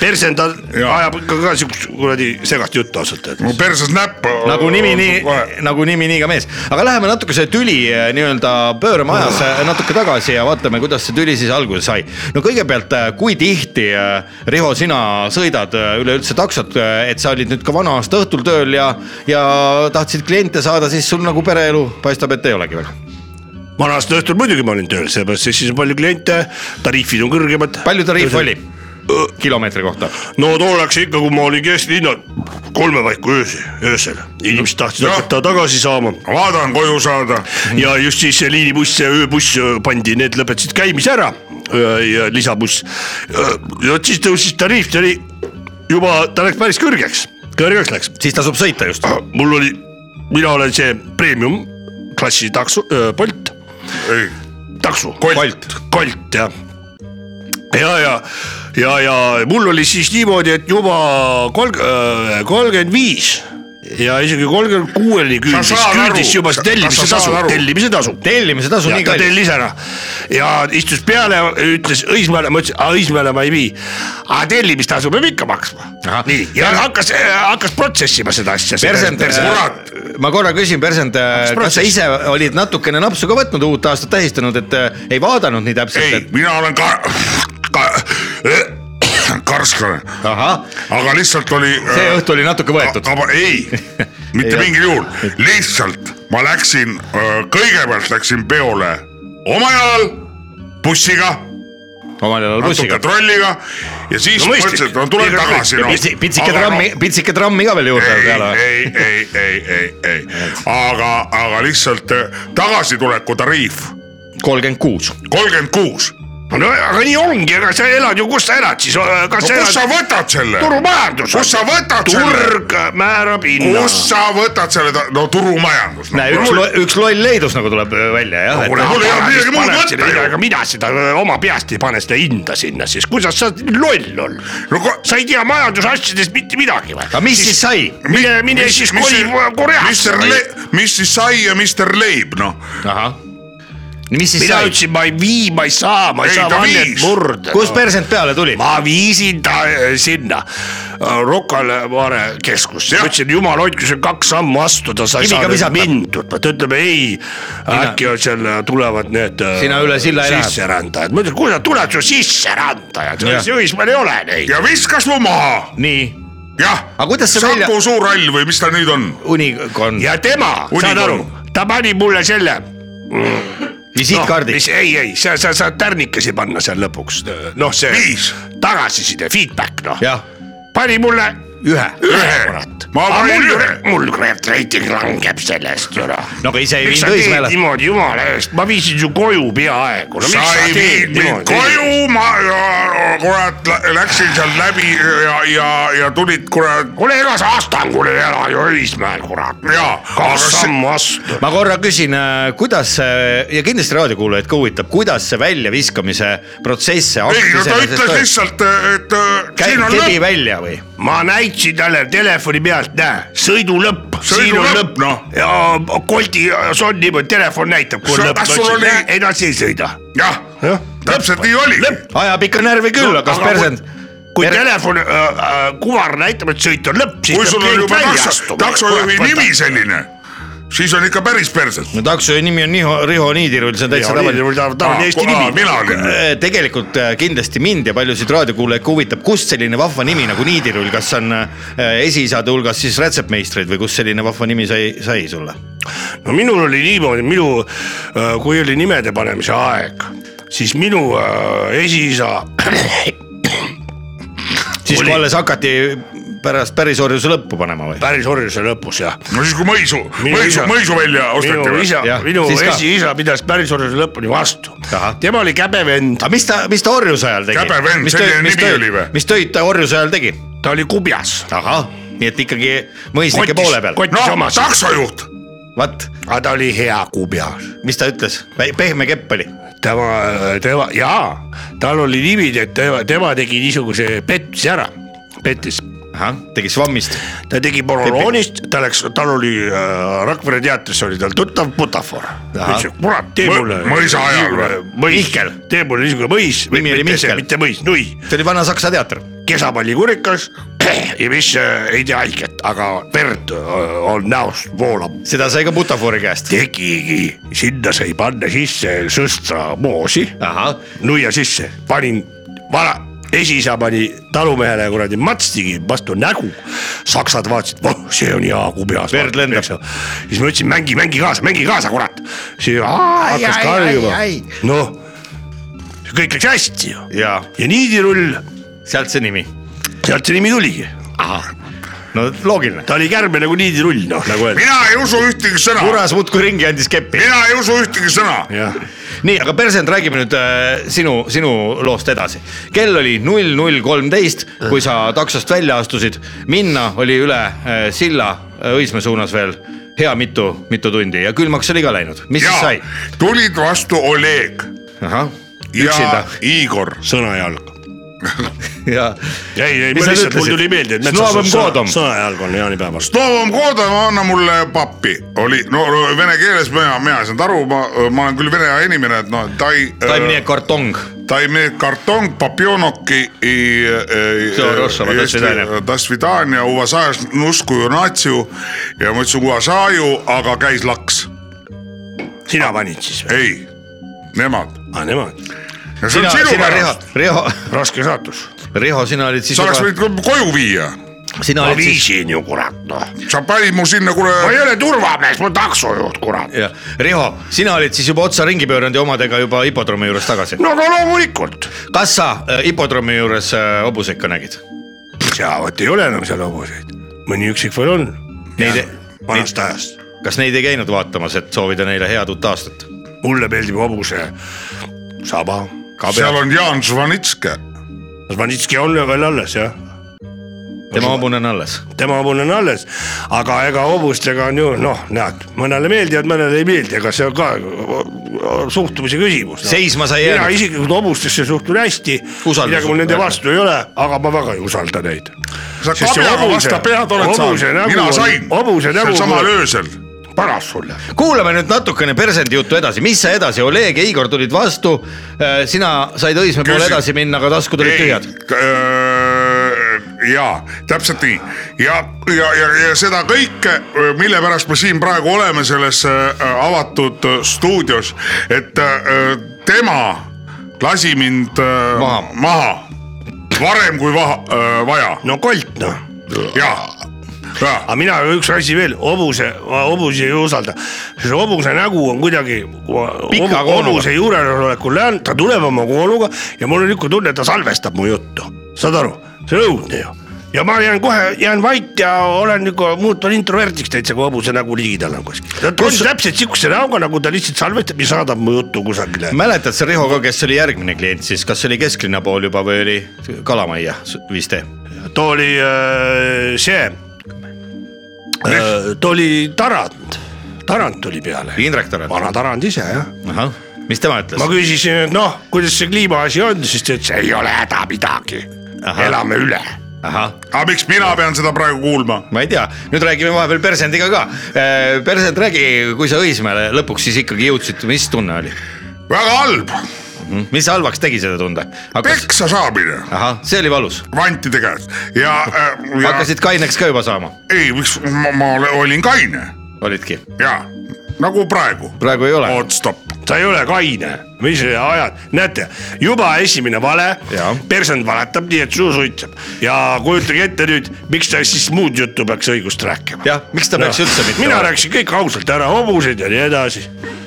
Persen ta
Jaa.
ajab ikka ka siukest kuradi segast juttu ausalt öeldes .
perses näpp .
nagu nimi nii , nagu nimi nii ka mees , aga läheme natukese tüli eh, nii-öelda pöörame ajas eh, natuke tagasi ja vaatame , kuidas see tüli siis alguse sai . no kõigepealt , kui tihti , Riho , sina sõidad eh, üleüldse taksot , et sa olid nüüd ka vana aasta õhtul tööl ja , ja tahtsid kliente saada , siis sul nagu pereelu paistab , et ei olegi väga .
vana aasta õhtul muidugi ma olin tööl , seepärast , et siis on palju kliente , tariifid on kõrgemad .
palju tariif oli ? kilomeetri kohta .
no tollaks ikka , kui ma olin kesklinna kolme paiku öösel , öösel , inimesed tahtsid
Jah.
hakata tagasi saama
ma tahan koju saada .
ja just siis see liinibuss ja ööbuss öö, pandi , need lõpetasid käimise ära . ja lisabuss , vot siis tõusis tariif , see oli juba , ta läks päris kõrgeks , kõrgeks läks ,
siis tasub sõita just .
mul oli , mina olen see premium klassi takso , Bolt ,
ei ,
takso .
Kolt. ,
Kolt jah . ja , ja , ja , ja mul oli siis niimoodi , et juba kolm , kolmkümmend viis ja isegi kolmkümmend kuueni küündis
saad , aru?
küündis juba
Kas
see
sa
tellimise
saad
tasu
aru? ,
tellimise tasu
tellimise tasu
ja
nii
ta
kallis .
tellis ära ja istus peale , ütles Õismäele , ma ütlesin , Õismäele ma ei vii . aga tellimistasu peab ikka maksma
Ahah. .
nii , ja hakkas , hakkas protsessima seda asja .
Persend ,
kurat.
ma korra küsin , Persend , kas sa
protsess?
ise olid natukene napsu ka võtnud uut aastat tähistanud , et äh, ei vaadanud nii täpselt ,
ei
et ,
mina olen ka, ka , karsklane ,
ahah ,
aga lihtsalt oli . äh,
see
Äh.
õhtu oli natuke võetud .
aga ei , mitte
Ei
mingil juhul , lihtsalt ma läksin , kõigepealt läksin peole oma jalal , bussiga ,
omal jalal
natuke
bussiga .
trolliga ja siis
No
no, ma
mõistlik.
ütlesin , et no tulen
Piirkond-
tagasi no. .
pitsike trammi , pitsike trammi ka veel juurde peale või ?
ei , ei , ei , ei , ei , aga , aga lihtsalt eh, tagasituleku tariif
kolmkümmend kuus .
kolmkümmend kuus .
no aga nii ongi , ega sa elad ju , kus sa elad siis , kas
no
sa
kust sa
elad
võtad selle ?
turumajandus .
Kus sa võtad selle?
turg määrab hinna .
kust sa võtad selle , no turumajandus no, .
näe , üks , üks loll leidus nagu tuleb välja jah .
Kuule, mul ei olnud midagi muud võtta ju.
aga mina seda öö, oma peast ei pane seda hinda sinna siis , kuidas sa loll olla
No ko-
sa ei tea majandusasjadest mitte midagi või ?
aga mis siis sai ?
mine , mine siis koli Koreasse .
mis siis sai ja Mr Leib , noh ,
ahah , mis siis
mina
sai ?
ütlesin , ma ei vii , ma ei saa , ma ei,
Ei,
ei saa
ta
vannet
viis.
murda .
kus persent peale tuli ?
ma viisin ta äh, sinna äh, Rocca Mare keskusse ,
Jah.
ütlesin jumal hoidku , see on kaks sammu astuda , sa ei
Kiviga
saa nüüd
visata.
mindud , ta ütleb ei , äkki on seal äh, tulevad need äh,
Sina üle silla ei lähe.
sisserändajad , ma ütlesin , kuhu sa tuled , sa oled sisserändaja ,
Jah.
selles juhis meil ei ole neid .
ja viskas mu maha ,
nii ,
jah .
Aga kuidas see
Saku
välja-
suur hall või mis ta nüüd on ?
unikond ,
ja tema , saad
Unikorn.
aru , ta pani mulle selle noh,
visiitkaardid .
mis ei , ei , sa , sa saad tärnikesi panna seal lõpuks , noh , see
Viis.
tagasiside , feedback noh ,
jah ,
pani mulle
ühe .
ühe kurat .
Ma
aga
panin
mul
ühe. ,
mul kurat reiting langeb sellest ju noh .
no aga ise ei
miks sa
viinud
teed
Õismäele .
niimoodi , jumala eest , ma viisin su koju peaaegu , no
sa
miks sa
ei viinud
teed
mind
niimoodi ?
koju , ma ja- kurat lä- läksin sealt läbi ja , ja , ja tulid kurat .
kuule , ega sa Astangul ei ela ju Õismäel , kurat .
Jaa, aga
kaks
see-
sammu astu .
ma korra küsin , kuidas äh, ja kindlasti raadiokuulajaid ka huvitab , kuidas see väljaviskamise protsess , see
ei , no
akt
ta ütles
iseenesest
lihtsalt , et äh, siin
käib
on
kebi
lõpp ,
välja või ?
ma näitasin talle telefoni pealt , näe , sõidu lõpp .
Sõidu lõpp, noh.
ja äh, Bolti , see on niimoodi , telefon näitab , kui on
Sa-
lõpp .
kas sul oli-
edasi ei sõida .
jah ,
Jah.
täpselt nii oli .
ajab ikka närvi küll , aga kas
aga
persent ,
kui
Per-
telefon äh, , äh, kuvar näitab , et sõit on lõpp , siis
kui sul on
peab
juba
klient välja
takso ,
astuma .
taksojuhi nimi selline , siis on ikka päris perses .
no taksojuhi nimi on Niho , Riho Niidirul , see on täitsa tavaline .
tavaline Eesti nimi .
Ah, mina olin .
tegelikult äh, kindlasti mind ja paljusid raadiokuulajaid ka huvitab , kust selline vahva nimi nagu Niidirull , kas on äh, esiisade hulgas siis rätsepmeistreid või kust selline vahva nimi sai , sai sulle ?
no minul oli niimoodi , minu , kui oli nimede panemise aeg , siis minu äh, esiisa
siis kui
Oli-
alles hakati pärast pärisorjuse lõppu panema või ?
päris orjuse lõpus jah
no siis , kui mõisu ,
Minu
mõisu
isa- ,
mõisu välja osteti
minu
või ?
isa
Jah, ,
minu
siis ka.
esiisa pidas päris orjuse lõpuni vastu
Ahah. .
tema oli käbevend ,
aga mis ta , mis ta orjuse ajal tegi ?
Käbe vend, selline nimi oli või?
mis töid ta orjuse ajal tegi ?
ta oli kubjas .
ahah , nii et ikkagi mõisnike
Kotis-
poole peal .
kot-
no
Samas.
taksojuht ,
vat ,
aga ta oli hea kubjas .
mis ta ütles , pehme kepp oli .
tema , tema jaa , tal oli niimoodi , et tema , tema tegi niisuguse pettuse ära , pettis
ahah , tegi svammist ,
ta tegi Borolonist , ta läks , tal oli äh, Rakvere teatris oli tal tuttav butafoor .
Ahah.
ütles , kurat , tee
Mõ-
mulle .
mõisa ajal või? ?
Mihkel , tee mulle niisugune mõis .
Nimi oli Mihkel.
mitte mõis , nui ,
see oli Vana-Saksa teater .
kesapallikurikas ja mis äh, ei tee haiget , aga verd äh, on näost voolab .
seda sai ka Butafoori käest .
tegigi , sinna sai panna sisse sõstra moosi ,
ahah ,
nuia sisse , panin vana esiisa pani talumehele kuradi matstigi vastu nägu . saksad vaatasid , voh , see on hea kubjas .
Verd lendab. .
siis ma ütlesin , mängi , mängi kaasa , mängi kaasa , kurat . siis aa, hakkas karjuma , noh , kõik läks hästi ju .
jaa ,
ja niidirull ,
sealt see nimi .
sealt see nimi tuligi ,
ahah , no loogiline .
ta oli kärbe nagu niidirull , noh nagu öeldakse .
mina ei usu ühtegi sõna ,
kuras muudkui ringi andis keppi .
mina ei usu ühtegi sõna .
jah ,
nii , aga Persent , räägime nüüd äh, sinu , sinu loost edasi . kell oli null null kolmteist , kui sa taksost välja astusid , minna oli üle äh, silla äh, Õismäe suunas veel hea mitu , mitu tundi ja külmaks oli ka läinud , mis ja. siis
ja
sai ?
tulid vastu Oleg
ahah ,
ja
üksinda
Igor .
sõnajalg .
ja
ei , ei ,
Mis
ma
sa
lihtsalt , mul
ütlesid?
tuli meelde , et
Slovom
metsas on
Kodom.
sõnajalg on jaanipäeval .
Toom Koodama , anna mulle pappi , oli no no vene keeles , mina , mina ei saanud aru , ma , ma olen küll vene inimene , et noh , ta ei .
taimne kartong ,
ta ei mene kartong , papionoki i . e,
Всё, хорошего, до свидания.
Da svidanja , uvasajas nuskuju natsiu ja ma ütlesin uvasaju , aga käis laks ,
sina panid siis või ?
ei , nemad .
aa , nemad .
ja see
sina
on , sinu
sina Riho
pärast ,,
Riho ,
raske saatus
Riho , sina olid siis
sa oleks
juba ,
võinud koju viia ,
sina
ma
olid siis
viisin ju kurat noh .
sa panid mu sinna
ma ei
kuule ,
ole turvamees , ma olen taksojuht kurat .
jah , Riho , sina olid siis juba otsa ringi pööranud ja omadega juba hipodroomi juures tagasi .
no no loomulikult .
kas sa äh, hipodroomi juures äh, hobuseid ka nägid ?
seal vot ei ole enam seal hobuseid , mõni üksik veel on
Neid ,
vanast ajast .
kas neid ei käinud vaatamas , et soovida neile head uut aastat ?
mulle meeldib hobuse saba .
seal on Jaan Žvanitske ,
Zvanitski on veel alles jah ,
tema hobune on alles .
tema hobune on alles , aga ega hobustega on ju noh , näed , mõnele meeldivad , mõnele ei meeldi , aga see on ka suhtumise küsimus no.
seisma sai
mina
jäänud .
isiklikult hobustesse suhtun hästi ,
Usaldus-
midagi mul nende vastu ei ole , aga ma väga ei usalda neid .
sa kabjaga vastu pead oled saanud , mina sain ,
hobuse nägu ,
samal öösel
paras sulle .
kuulame nüüd natukene persendi juttu edasi , mis sa edasi , Oleg ja Igor tulid vastu . sina said Õismäe poole
Küsi-
edasi minna , aga taskud olid tühjad .
ja täpselt nii ja , ja , ja , ja seda kõike , mille pärast me siin praegu oleme selles äh, avatud äh, stuudios , et äh, tema lasi mind äh,
Maha.
maha varem kui vaha, äh, vaja
no Kolt noh ,
ja , ja
aga mina üks asi veel , hobuse , hobusi ei usalda , sest hobuse nägu on kuidagi .
Pika koonuga.
hobuse juuresolekul läinud , ta tuleb oma koonuga ja mul on niisugune tunne , et ta salvestab mu juttu , saad aru , see on õudne ju ja ma jään kohe , jään vait ja olen nagu muutun introvertiks täitsa , kui hobuse nägu ligidal on kuskil . ta on täpselt sihukese näoga , nagu ta lihtsalt salvestab ja saadab mu juttu kusagile .
mäletad sa , Riho , ka , kes oli järgmine klient siis , kas oli kesklinna pool juba või oli Kalamajja vist ?
too oli äh, see , too oli Tarand , Tarand tuli peale ,
Indrek Tarand ,
vana Tarand ise jah .
ahah , mis tema ütles
ma ? küsisin , et noh , kuidas see kliimaasi on , siis ta ütles , ei ole häda midagi ,
Ahah.
elame üle .
ahah ,
aga miks mina pean seda praegu kuulma ?
ma ei tea , nüüd räägime vahepeal persendiga ka . persend , räägi , kui sa Õismäele lõpuks siis ikkagi jõudsid , mis tunne oli ?
väga halb ,
mis halvaks tegi seda tunda ? hakkas ,
peksa saamine
ahah , see oli valus ,
vantide käest ja, äh, ja
hakkasid kaineks ka juba saama ,
ei , miks ma, ma ole- olin kaine
olidki ,
ja nagu praegu .
praegu ei ole .
oot , stopp ,
sa ei ole kaine , mis sa ajad , näete , juba esimene vale
Jaa. ,
persend valetab nii , et suu suitseb ja kujutage ette nüüd , miks ta siis muud juttu peaks õigust rääkima .
jah , miks ta peaks üldse mitte
mina
olema?
rääkisin kõik ausalt ära , hobused ja nii edasi .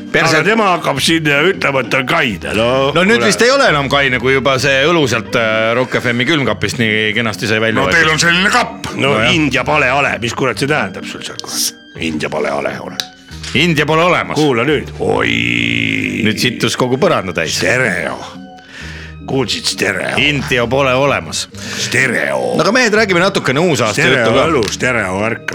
Perse-
aga tema hakkab siin ütlema , et ta on kaine , no .
no nüüd vist ei ole enam kaine , kui juba see õlu sealt äh, Rock FM-i külmkapist nii kenasti sai välja
no teil
võetud .
on selline kapp .
no, no India pale ale , mis kurat see tähendab sul seal kurat , India pale ale , kurat .
India pole olemas ,
kuula nüüd , oi ,
nüüd sittus kogu põranda täis .
stereo , kuulsid stereo ,
India pole olemas .
Oh.
stereo ,
aga mehed , räägime natukene uusaasta juttu
stereo
ka .
õlu , stereo värk ,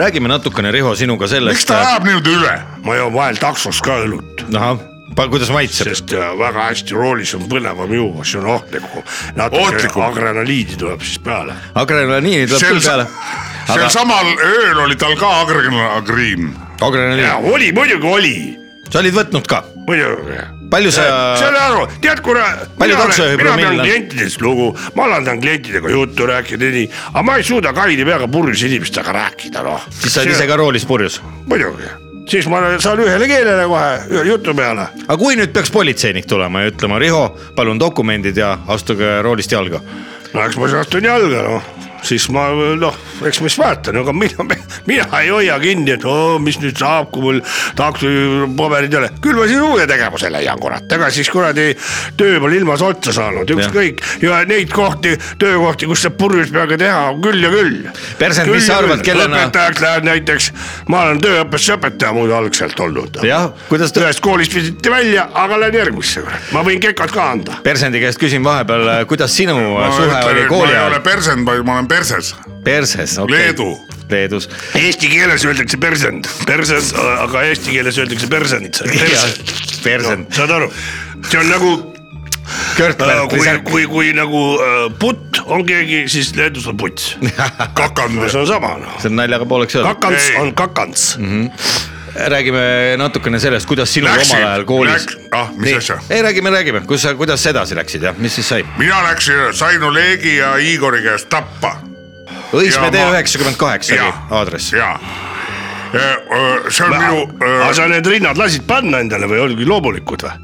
räägime natukene , Riho , sinuga
miks
sellest
ta , ajab niimoodi üle ?
ma joon vahel taksos ka õlut
ahah , kuidas maitseb ,
sest äh, väga hästi roolis on põnevam juua , see on ohtlikum . natuke
Ohtlikum.
adrenaliini tuleb siis peale .
adrenaliini tuleb
Sel-
küll peale .
sel
aga
samal ööl oli tal ka agrenaliin .
adrenaliin ,
oli , muidugi oli
sa olid võtnud ka ,
muidugi .
palju sa ,
saad aru , tead kuna .
Palju taksojuhi
mina
promill
pean
on?
klientidest lugu , ma alandan klientidega juttu rääkida ja nii , aga ma ei suuda kaine peaga purjus inimestega rääkida , noh .
siis sa olid ise . ka roolis purjus .
muidugi , siis ma saan ühele keelele kohe ühe jutu peale .
aga kui nüüd peaks politseinik tulema ja ütlema , Riho , palun dokumendid ja astuge roolist jalga
no eks ma siis astun jalga , noh siis ma noh , eks ma siis vaatan , aga mina , mina ei hoia kinni , et oo , mis nüüd saab , kui mul taksojuhi paberid ei ole . küll ma siis uue tegevuse leian , kurat , ega siis kuradi töö pole ilmas otsa saanud , ükskõik . ja neid kohti , töökohti , kus saab purjus peaga teha , on küll ja küll .
Persend, mis sa arvad, kellena-
õpetajaks lähen näiteks , ma olen tööõppesse õpetaja muidu algselt olnud .
jah , kuidas ta
ühest koolist visati välja , aga lähen järgmisse , ma võin kekad ka anda .
persendi käest küsin vahepeal , kuidas sinu no, suhe oli
ma
kooli
ei ole
ajal ?
persend , vaid ma olen perses .
perses , okei .
Leedu. .
Leedus .
Eesti keeles öeldakse persend , persend , aga eesti keeles öeldakse persend .
persend ,
saad aru , see on nagu äh,
Körtberg või
kui ,
Särk .
kui , kui nagu äh, putt on keegi , siis Leedus on puts . kakand . see on sama noh ,
see on naljaga pooleks öeldud .
kakants
Ei.
on kakants .
Mhm. räägime natukene sellest , kuidas sinul
Läksin,
omal ajal koolis
läk- . ah, mis asja?
ei , räägime , räägime , kus sa , kuidas sa edasi läksid ja mis siis sai ?
mina läksin , sain Olegi ja Igori käest tappa .
Õismäe
Ja
tee
ma-
üheksakümmend kaheksa oli
Jah.
aadress .
ja , Äh, see on minu äh,
aga sa need rinnad lasid panna endale või olid loomulikud või ?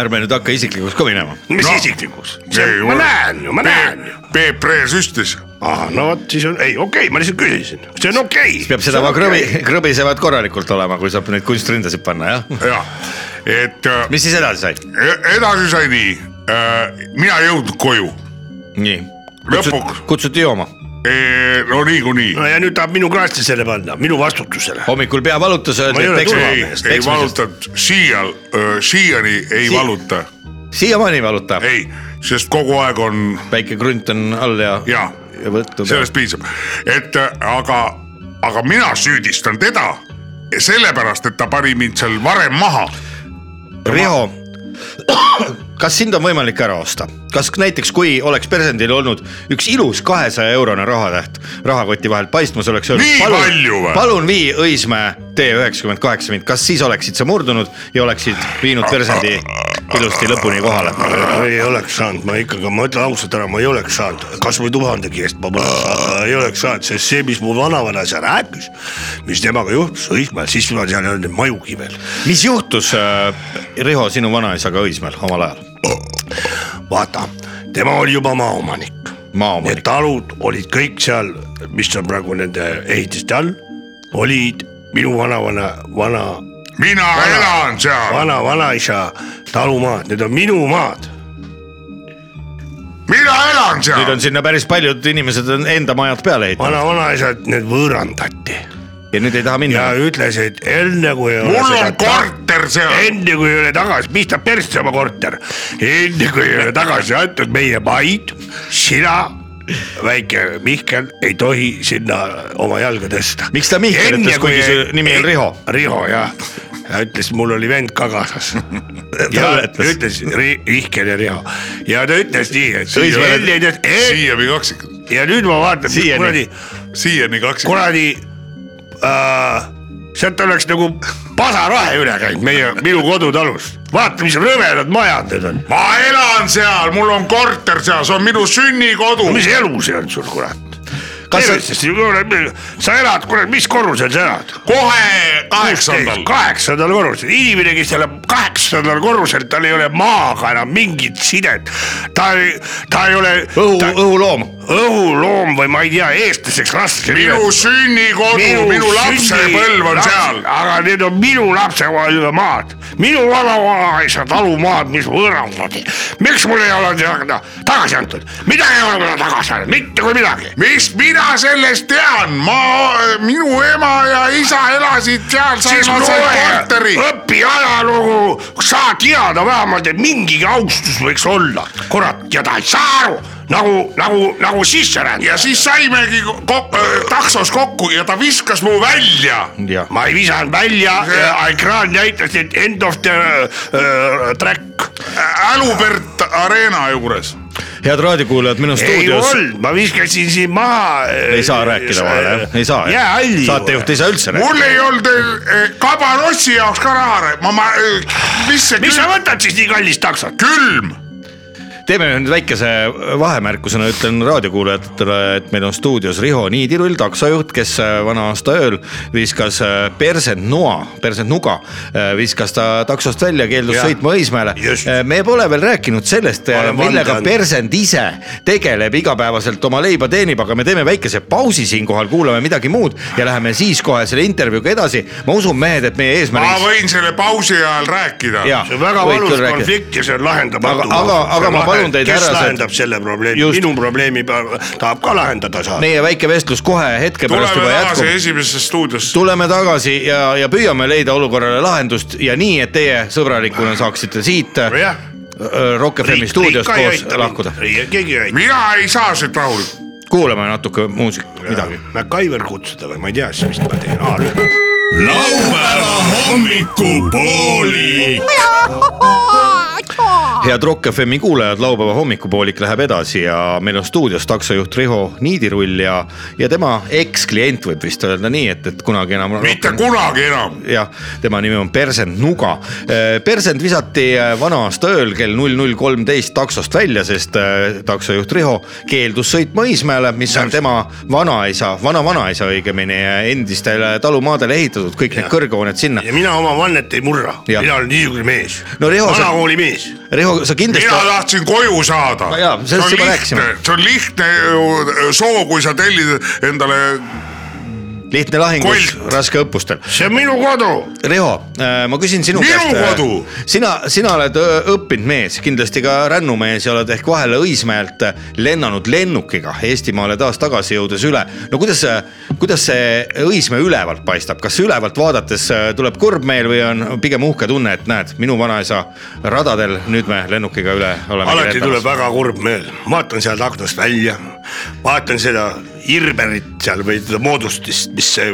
ärme nüüd hakka isiklikuks ka minema .
mis
No.
no. isiklikuks ?
Ei,
ma
mul-
näen ju , ma näen ju .
äh, . Peep Ree süstis ,
ahah , no vot siis on , ei okei okay, , ma lihtsalt küsisin , see on okei okay. .
peab seda oma krõbi , krõbisevad korralikult olema , kui saab neid kunstrindasid panna , jah .
jah , et äh,
mis siis edasi sai ?
e- edasi sai nii , mina ei jõudnud koju ,
nii .
Lõpuks.
kutsuti jooma
no niikuinii
no ja nüüd tahab minu kraastisele panna , minu vastutusele .
hommikul pea valutas ,
Ma
öeldi ,
ei ole
et
ei
eksime ,
ei . valutanud , siial , siiani ei
Si-
valuta ,
siiamaani ei valuta ,
ei , sest kogu aeg on
väike krunt on all ja ,
ja
ja võtnud .
sellest piisab , et äh, aga , aga mina süüdistan teda sellepärast , et ta pani mind seal varem maha .
Riho , kas sind on võimalik ära osta , kas näiteks , kui oleks presendil olnud üks ilus kahesaja eurone rahatäht rahakoti vahelt paistmas , oleks
Nii palju
palun
või? ,
palun vii Õismäe tee üheksakümmend kaheksa mind , kas siis oleksid sa murdunud ja oleksid viinud presendi ilusti lõpuni kohale ?
ei oleks saanud , ma ikkagi , ma ütlen ausalt ära , ma ei oleks saanud , kasvõi tuhandegi eest ma poleks saanud , ei oleks saanud , sest see , mis mu vanavanaisa rääkis , mis temaga juhtus Õismäel , siis ma seal ei olnud majugi veel .
mis juhtus , Riho , sinu vanaisaga Õismäel omal ajal ?
vaata , tema oli juba maaomanik , need
maaomanik ,
talud olid kõik seal , mis on praegu nende ehitiste all , olid minu vanavana , vana ,
mina elan seal ,
vana-vanaisa talumaad , need on minu maad
mina elan
nüüd
seal
on . sinna päris paljud inimesed on enda majad peale ehitanud
vanavanaisad need võõrandati
ja nüüd ei taha minna
ja . ütles , et enne kui .
mul on korter seal ,
enne kui ei ole tagasi , mis ta persse oma korter , enne kui ei ole tagasi antud meie maid , sina , väike Mihkel , ei tohi sinna oma jalga tõsta .
miks ta Mihkel ütles , kuigi su nimi on Riho ?
Riho jah , ja ütles , mul oli vend ka kaasas . ja
Talle ütles.
ütles Ri- Mihkel ja Riho ja ta ütles nii , et
Õismäele-
enne ütles , et "Eh,
siiani kaksikud ,
ja nüüd ma vaatan ,
Siiani.
kuradi ,
siiani kaksikud .
kuradi äh, sealt oleks nagu pasarahe üle käinud meie , minu kodutalust . vaata , mis rõvedad majad need on .
ma elan seal , mul on korter seal , see on minu sünnikodu .
mis elu see on sul , kurat ?
Kas sa-
sa elad , kurat , mis korrusel sa elad ?
kohe kaheksandal .
kaheksandal korrusel , inimene , kes elab kaheksandal korrusel , tal ei ole maaga enam mingit sidet . ta ei , ta ei ole
õhu
ta, ,
õhuloom .
õhuloom või ma ei tea , eestlaseks raske .
minu sünnikodu , minu lapsepõlv on seal .
aga need on minu lapsepõlve maad , minu vanavanaisa talumaad , mis võõrandati . miks mul ei ole seda tagasi antud , midagi ei ole mulle tagasi antud , mitte kui midagi .
mis mina sellest tean , ma , minu ema ja isa elasid seal ,
siis
siis ma sain korteri
loe ,. õpi ajalugu , saa teada vähemalt , et mingigi austus võiks olla , kurat , ja ta ei saa aru nagu , nagu , nagu
ja
sisserändaja .
siis saimegi kok- , taksos kokku ja ta viskas mu välja .
jah ,
ma ei visanud välja , ekraan näitas , et end of the uh, track
Älupert Arena juures .
head raadiokuulajad , minu
ei
stuudios .
olnud , ma viskasin siin maha .
ei saa rääkida vahele , jah , ei saa .
jää halli .
saatejuht ei saa üldse rääkida .
mul ei olnud eh, kabarossi jaoks ka raha , ma , ma , mis see
miks
külm
sa , võtad siis nii kallist taksot ?
külm ,
teeme nüüd väikese vahemärkusena , ütlen raadiokuulajatele , et meil on stuudios Riho Niidirull , taksojuht , kes äh, vana aasta ööl viskas äh, persend noa , persend nuga , viskas ta taksost välja , keeldus
Jah.
sõitma Õismäele Äh,
Just. .
me pole veel rääkinud sellest äh,
Ma , olen vande
millega
andnud.
persend ise tegeleb igapäevaselt , oma leiba teenib , aga me teeme väikese pausi siinkohal , kuulame midagi muud ja läheme siis kohe selle intervjuuga edasi . ma usun , mehed , et meie
ma
eesmärgiks
võin selle pausi ajal rääkida .
Jaa.
see on väga
Võid
valus
küll rääkida.
konflikt ja see on lahendamatu .
Aga- aga- aga ma palun teid,
härrased .
härrased-
kes lahendab selle probleemi ,
Just.
minu probleemi peab- tahab ka lahendada saada .
meie väike vestlus kohe hetke pärast
tuleme
juba
tagasi
jätkub .
esimesse stuudiosse .
tuleme tagasi ja , ja püüame leida olukorrale lahendust ja nii , et teie sõbralikuna saaksite siit äh,
jah ,
Rock FM'i stuudiost koos lahkuda .
keegi ei aita .
mina ei saa siit rahulikult .
kuulame natuke muusikat , midagi .
MacGyver kutsuda või ma ei tea , siis mis ma teen , aa ,
laupäeva hommikupooli .
head Rock FM'i kuulajad , laupäeva hommikupoolik läheb edasi ja meil on stuudios taksojuht Riho Niidirull ja , ja tema eksklient võib vist öelda nii , et , et kunagi enam .
mitte kunagi enam .
jah , tema nimi on Persend Nuga . Persend visati eh, vana-aasta ööl kell null null kolmteist taksost välja , sest eh, taksojuht Riho keeldus sõitma Õismäele , mis on tema vanaisa , vana-vanaisa õigemini , endistele talumaadele ehitatud , kõik need kõrghooned sinna .
ja mina oma vannet ei murra ,
Jah.
mina olen niisugune mees
No Riho, sa-
vanakooli mees .
Riho , sa
mina
kindlasti ,
tahtsin koju saada
No jaa, .
see
sellest
on
juba
lihtne
rääkisime. ,
see on lihtne ju soov , kui sa tellid endale
lihtne lahingus
Kolt. ,
raske õppustel .
see on minu kodu ,
Riho , ma küsin sinu
Minu
käest .
kodu!
sina , sina oled öö, õppinud mees , kindlasti ka rännumees ja oled ehk vahele Õismäelt äh, lennanud lennukiga Eestimaale taas tagasi jõudes üle . no kuidas , kuidas see Õismäe ülevalt paistab , kas ülevalt vaadates öö, tuleb kurb meel või on pigem uhke tunne , et näed , minu vanaisa radadel , nüüd me lennukiga üle oleme .
alati tuleb väga kurb meel , vaatan sealt aknast välja , vaatan seda Irberit seal või seda moodustist , mis see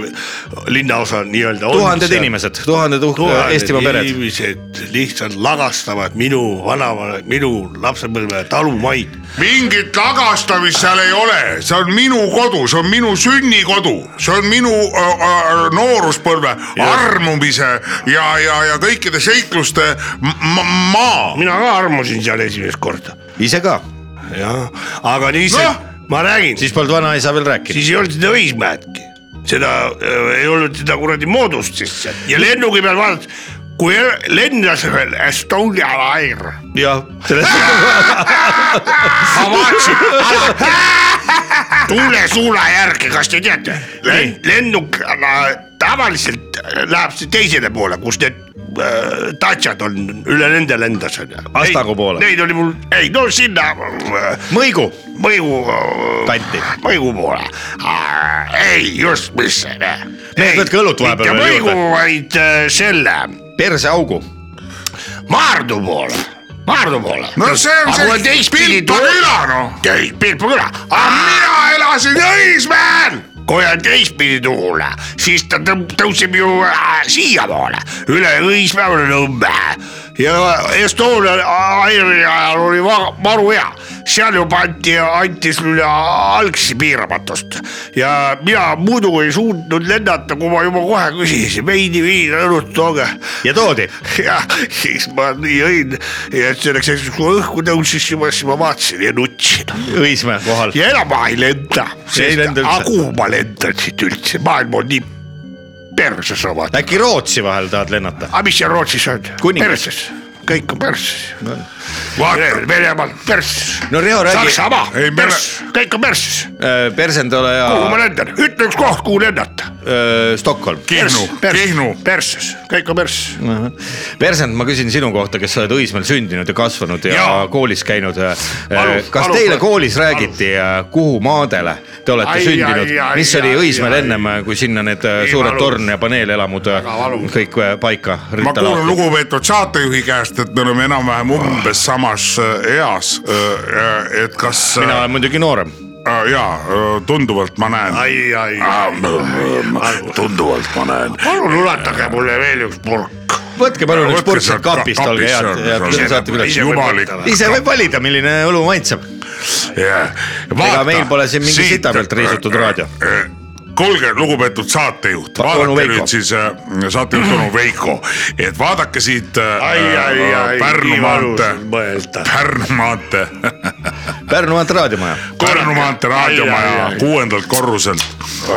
linnaosa nii-öelda on .
tuhanded inimesed , tuhanded uhke
tuhanded
Eestimaa pered .
inimesed lihtsalt lagastavad minu vanavanemad , minu lapsepõlve talumaid .
mingit lagastamist seal ei ole , see on minu kodu , see on minu sünnikodu , see on minu äh, äh, nooruspõlve armumise ja , ja , ja kõikide seikluste m- m- maa .
mina ka armusin seal esimest korda .
ise ka ,
jah , aga nii see
Noh.
no. , ma räägin ,
siis polnud vanaisa veel rääkinud .
siis ei olnud seda Õismäedki , seda äh, ei olnud seda kuradi moodust sisse ja lennuki peal vaadates , kui el- lendas veel Estonia laev .
jah , sellest
ma vaatasin , tuulesuuna järgi , kas te teate , lennuk äh, tavaliselt läheb see teisele poole , kus need äh, tatšad on , üle nende lendas onju .
Astagu poole.
Neid oli mul , ei no sinna äh,
mõigu
mõju .
kanti .
mõigu poole . ei , just , mis see .
Mehed, võtke õlut vahepeal
mitte
veel
mõigu ,
juurde.
vaid äh, selle
perseaugu ,
Maardu poole , Maardu poole .
no see on see Pilpa küla Ah. noh ,
ei , Pirpu küla , aga mina
mina elasin Õismäel .
kui on teistpidi tuul , siis ta tõmb- tõuseb ju äh, siiapoole , üle Õismäe Nõmme ja Estonia aeri ajal oli va- maru hea , seal ju pandi , anti sulle algsi piiramatust ja mina muidu ei suutnud lennata , kui ma juba kohe küsisin , veidi viina õlut tooge
ja toodi .
ja siis ma nii jõin , et selleks hetkeks , kui õhku tõusis juba , siis ma vaatasin ja nutsin .
Õismäe kohal .
ja enam ma ei lenda ,
Ei
sest
lenda üldse.
aga kuhu ma lendan siit üldse , maailm on nii perses omad .
äkki Rootsi vahel tahad lennata ?
aga mis seal Rootsis on ?
Kuningas.
perses , kõik on perses no. .
Äh,
Venemaal perses .
no Riho , räägi ,
Saksamaa
Ei, me- ,
perses , kõik on perses .
persendole
kuhu ma
ja
lendan , ütle üks koht , kuhu lennata .
öö, Stockholm .
Kihnu , Kihnu .
perses , kõik on perses .
Persend , ma küsin sinu kohta , kes sa oled Õismäel sündinud ja kasvanud ja, ja.
Jaa.
koolis käinud . kas
palun,
teile
palun.
koolis räägiti , kuhu maadele te olete ai,
Ai,
sündinud
ai, , ai,
mis oli
ai,
Õismäel
ai.
ennem , kui sinna need öö,
Nii
suured
valus.
torn ja paneelelamud öö,
valus.
kõik öö, paika
ma
ritta
kuulan
laotud ?
lugupeetud saatejuhi käest , et me oleme enam-vähem umbes samas äh, eas , et kas äh,
mina olen muidugi noorem .
äh, jaa , tunduvalt ma näen .
ai , ai , ai ,
tunduvalt ma näen .
palun ulatage mulle veel üks purk .
võtke palun üks
Võtke
purk sealt
sealt
kapist ,
kapist
olge head
sealt,
ja
sealt.
te saate
Ise-
midagi .
ise-
jumalik
ise võib valida , milline õlu maitseb . ega meil pole siin mingi sita pealt riisutud raadio .
äh, kuulge , lugupeetud saatejuht ,
Pa- onu
vaadake
Veiko.
nüüd siis äh, saatejuht onu Veiko , et vaadake siit äh,
ai , ai , ai ,
Pärnu
nii valus
maantee
on , mõelda .
Pärnu maantee
Pärnu maantee raadiomaja .
Pärnu maantee
Ai, ai,
raadiomaja
ai.
kuuendalt korruselt .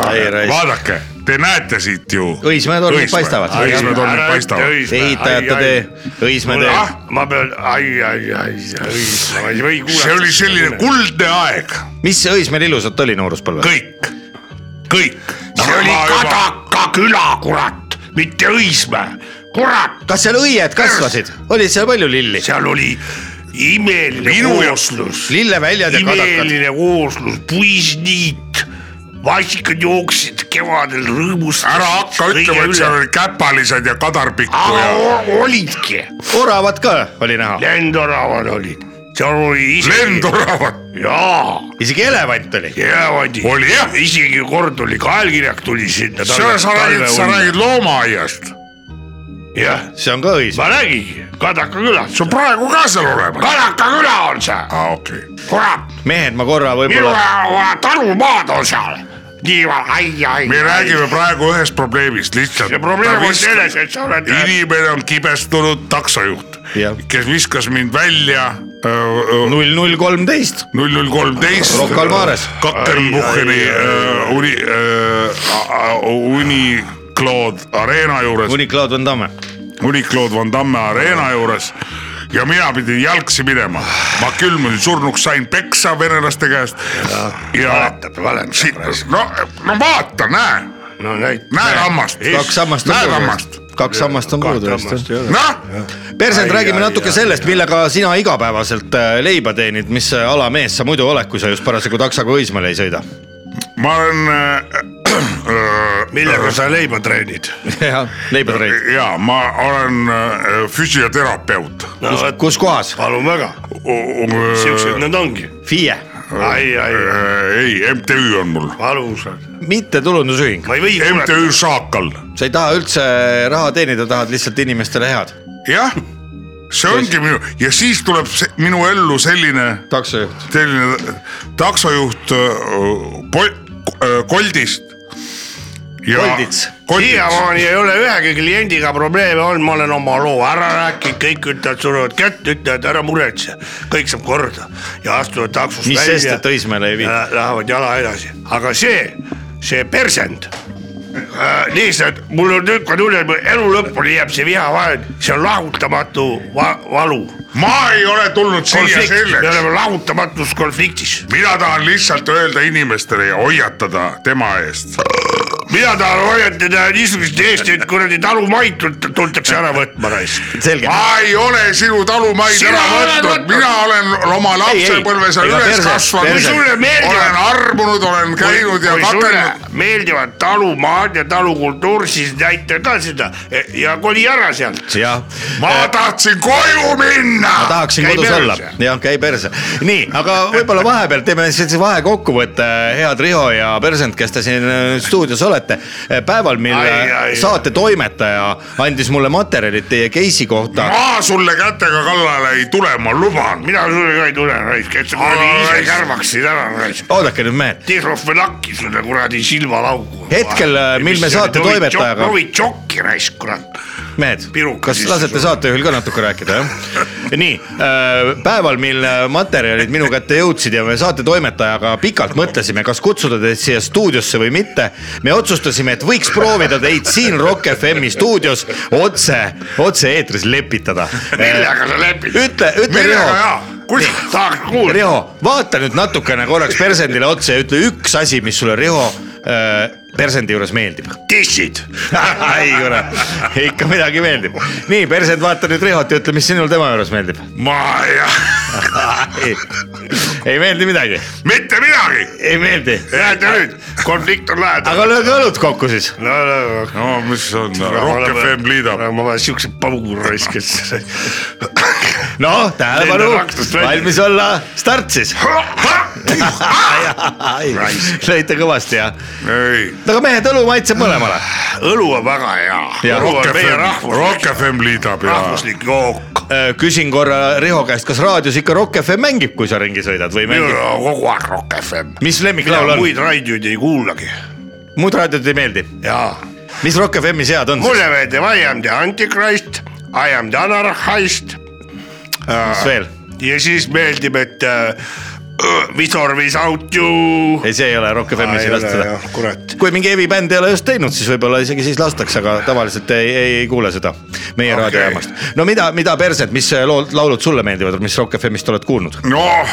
Ai, raisk.
vaadake , te näete siit ju .
Õismäe tornid paistavad.
Õismäe tornid paistavad .
ehitajate tee , Õismäe tee .
Ah, ma pean , ai , ai , ai , ai , ma ei või kuulata .
see oli selline . kuldne aeg ,
mis Õismäel ilusat oli nooruspõlves ?
kõik , kõik .
see oli . Kadaka küla , kurat , mitte Õismäe , kurat ,
kas seal õied kasvasid , oli seal palju lilli ?
seal oli imeline
Minu jaoks-
kooslus ,
lilleväljad ja kadakad .
imeline kooslus , puisniit , maasikad jooksid kevadel rõõmust .
ära hakka ütlema , et seal . olid käpalised ja kadarpikku
aga
ja
o- olidki ,
oravat ka oli näha ,
lendoravad olid , seal oli ise .
lendoravad .
jaa
isegi elevant oli .
jäävadi .
Oli jah.
isegi kord oli kaelkirjak tuli sinna .
sa sa räägid , sa . räägid loomaaiast ,
jah ,
see on ka Õismäe .
ma räägingi , Kadaka külas ,
see on praegu ka seal olemas .
Kadaka küla on see ,
aa , okei .
kurat ,
mehed , ma korra
minu
võib-olla ,
ja- talumaad on seal . nii , ai , ai .
me räägime praegu ühest probleemist lihtsalt .
see probleem on selles , et sa oled .
inimene on kibestunud taksojuht
Jah. ,
kes viskas mind välja null
null null kolmteist ,
null kolmteist .
Rocca al Mares.
Kakenbucheni äh, uni , äh, Uniclod Arena juures ,
kuni Claude Van Damme .
Uniclod Van Damme Arena juures ja mina pidin jalgsi minema . ma külmusin surnuks , sain peksa venelaste käest ja
valetab , valetab .
siit , no , no vaata , näe ,
no näit- .
näe hammast ,
kaks sammast on
näe
puudu
hammast ,.
kaks sammast on puudu vist .
noh
Persend ,
Ai,
räägime
ai,
natuke
ai,
sellest , millega sina igapäevaselt äh, leiba teenid , mis äh, ala mees sa muidu oled , kui sa just parasjagu taksoga Õismäele ei sõida .
ma olen äh, .
millega sa leiba treenid ?
jah , leibatreid .
ja ma olen äh, füsioterapeut .
kus kohas ?
Äh. palun väga , siuksed nad ongi .
FIE ,
Ai, ai,
äh, ei , MTÜ on mul ,
valusad .
mittetulundusühing ,
ma ei või kurat ,
MTÜ Šaakal ,
sa ei taha üldse raha teenida , tahad lihtsalt inimestele head
jah , see ongi minu ja siis tuleb see, minu ellu selline ,
taksojuht .
selline taksojuht äh, Pol- , Koldist .
Koldits. .
siiamaani ei ole ühegi kliendiga probleeme olnud , ma olen oma loo ära rääkinud , kõik ütlevad , surevad kätt , ütlevad ära muretse , kõik saab korda ja astuvad taksost
mis sest ,
välja
et Õismäele ei viinud .
ja lähevad jala edasi , aga see , see persend . äh, lihtsalt mul on niisugune tunne , et mu elu lõpuni jääb see viha vahel , see on lahutamatu va valu .
ma ei ole tulnud siia
me
selleks ,
oleme lahutamatus konfliktis .
mina tahan lihtsalt öelda inimestele ja hoiatada tema eest .
mina tahan hoiatada niisugust eest , et kuradi talumaid tult- tultakse ära võtma raisk .
selge .
ma ei ole sinu talumaid
Sina
ära
oled
võtnud ,
võtnud!
mina olen oma lapsepõlves
Ega
üles
perse-
kasvanud
perse- .
Sulle meeldivad-
olen armunud , olen käinud ja
kui sulle
katelnud .
meeldivad talumaad ja talukultuur , siis näita ka seda ja koli ära sealt .
jah ,
ma tahtsin koju minna .
tahaksin
käi
kodus
perse.
olla , jah , käi perse . nii , aga võib-olla vahepeal teeme sellise vahekokkuvõtte , head Riho ja Persent , kes te siin äh, stuudios olete . päeval , mil äh,
Ai, ai.
saate toimetaja andis mulle materjalid teie case'i kohta .
ma sulle kätega kallale ei tule , ma luban .
mina sulle ka ei tule raisk , et sa kuradi
Aa,
ise
raisk.
kärvaksid ära raisk .
oodake nüüd , mehed ,
Tehrofenaki sulle kuradi silmalaugu .
Hetkel, mil me saate toimetajaga-
Novitšoki raisk , kurat .
mehed
Piruka ,
kas
sisse
lasete
sulle.
saatejuhil ka natuke rääkida , jah ? nii , päeval , mil äh, materjalid minu kätte jõudsid ja me saatetoimetajaga pikalt mõtlesime , kas kutsuda teid siia stuudiosse või mitte , me otsustasime , et võiks proovida teid siin Rock FM-i stuudios otse , otse-eetris lepitada .
millega sa lepid ?
ütle , ütle
millega
Riho ,
ja ,
kus tahaks kuulda ?
Riho , vaata nüüd natukene korraks persendile otsa ja ütle üks asi , mis sulle Riho äh, persendi juures meeldib
tissid .
ei kurat , ikka midagi meeldib . nii , Persed , vaata nüüd Rihot ja ütle , mis sinul tema juures meeldib .
ma jah ,
ei meeldi midagi ,
mitte midagi .
ei meeldi ,
näete nüüd , konflikt on lähedal .
aga lööge õlut kokku siis .
no , no ,
no mis on , Rock FM liidab .
ma panen siukse paugu raisk , et .
noh , tähelepanu
Lendab raktast , välja.
valmis olla , start siis . lõite kõvasti jah ,
ei ,
aga mehed , õlu maitseb mõlemale .
õlu on väga hea
Jaa. .
õlu
Rock
on meie
FM , Rock
rahvuslik ,
FM liidab ja .
rahvuslik jook .
Äh, küsin korra Riho käest , kas raadios ikka Rock FM mängib , kui sa ringi sõidad või
minul
mängib ?
on kogu aeg Rock FM .
mis
mina
lemmiklaul on ?
muid raadioid ei kuulagi .
muud raadiod ei meeldi .
jaa
mis Rock FM-is head on siis ,
mulle meeldib I am the antichrist , I am the anarchist
mis veel ?
ja siis meeldib , et äh, Visor without you .
ei , see ei ole Rock FM-is ei lasta seda .
kurat ,
kui mingi heavy-bänd ei ole just teinud , siis võib-olla isegi siis lastakse , aga tavaliselt ei, ei , ei kuule seda meie okay. raadiojaamast . no mida , mida perset , mis lood , laulud sulle meeldivad , mis Rock FM-ist oled kuulnud ?
noh ,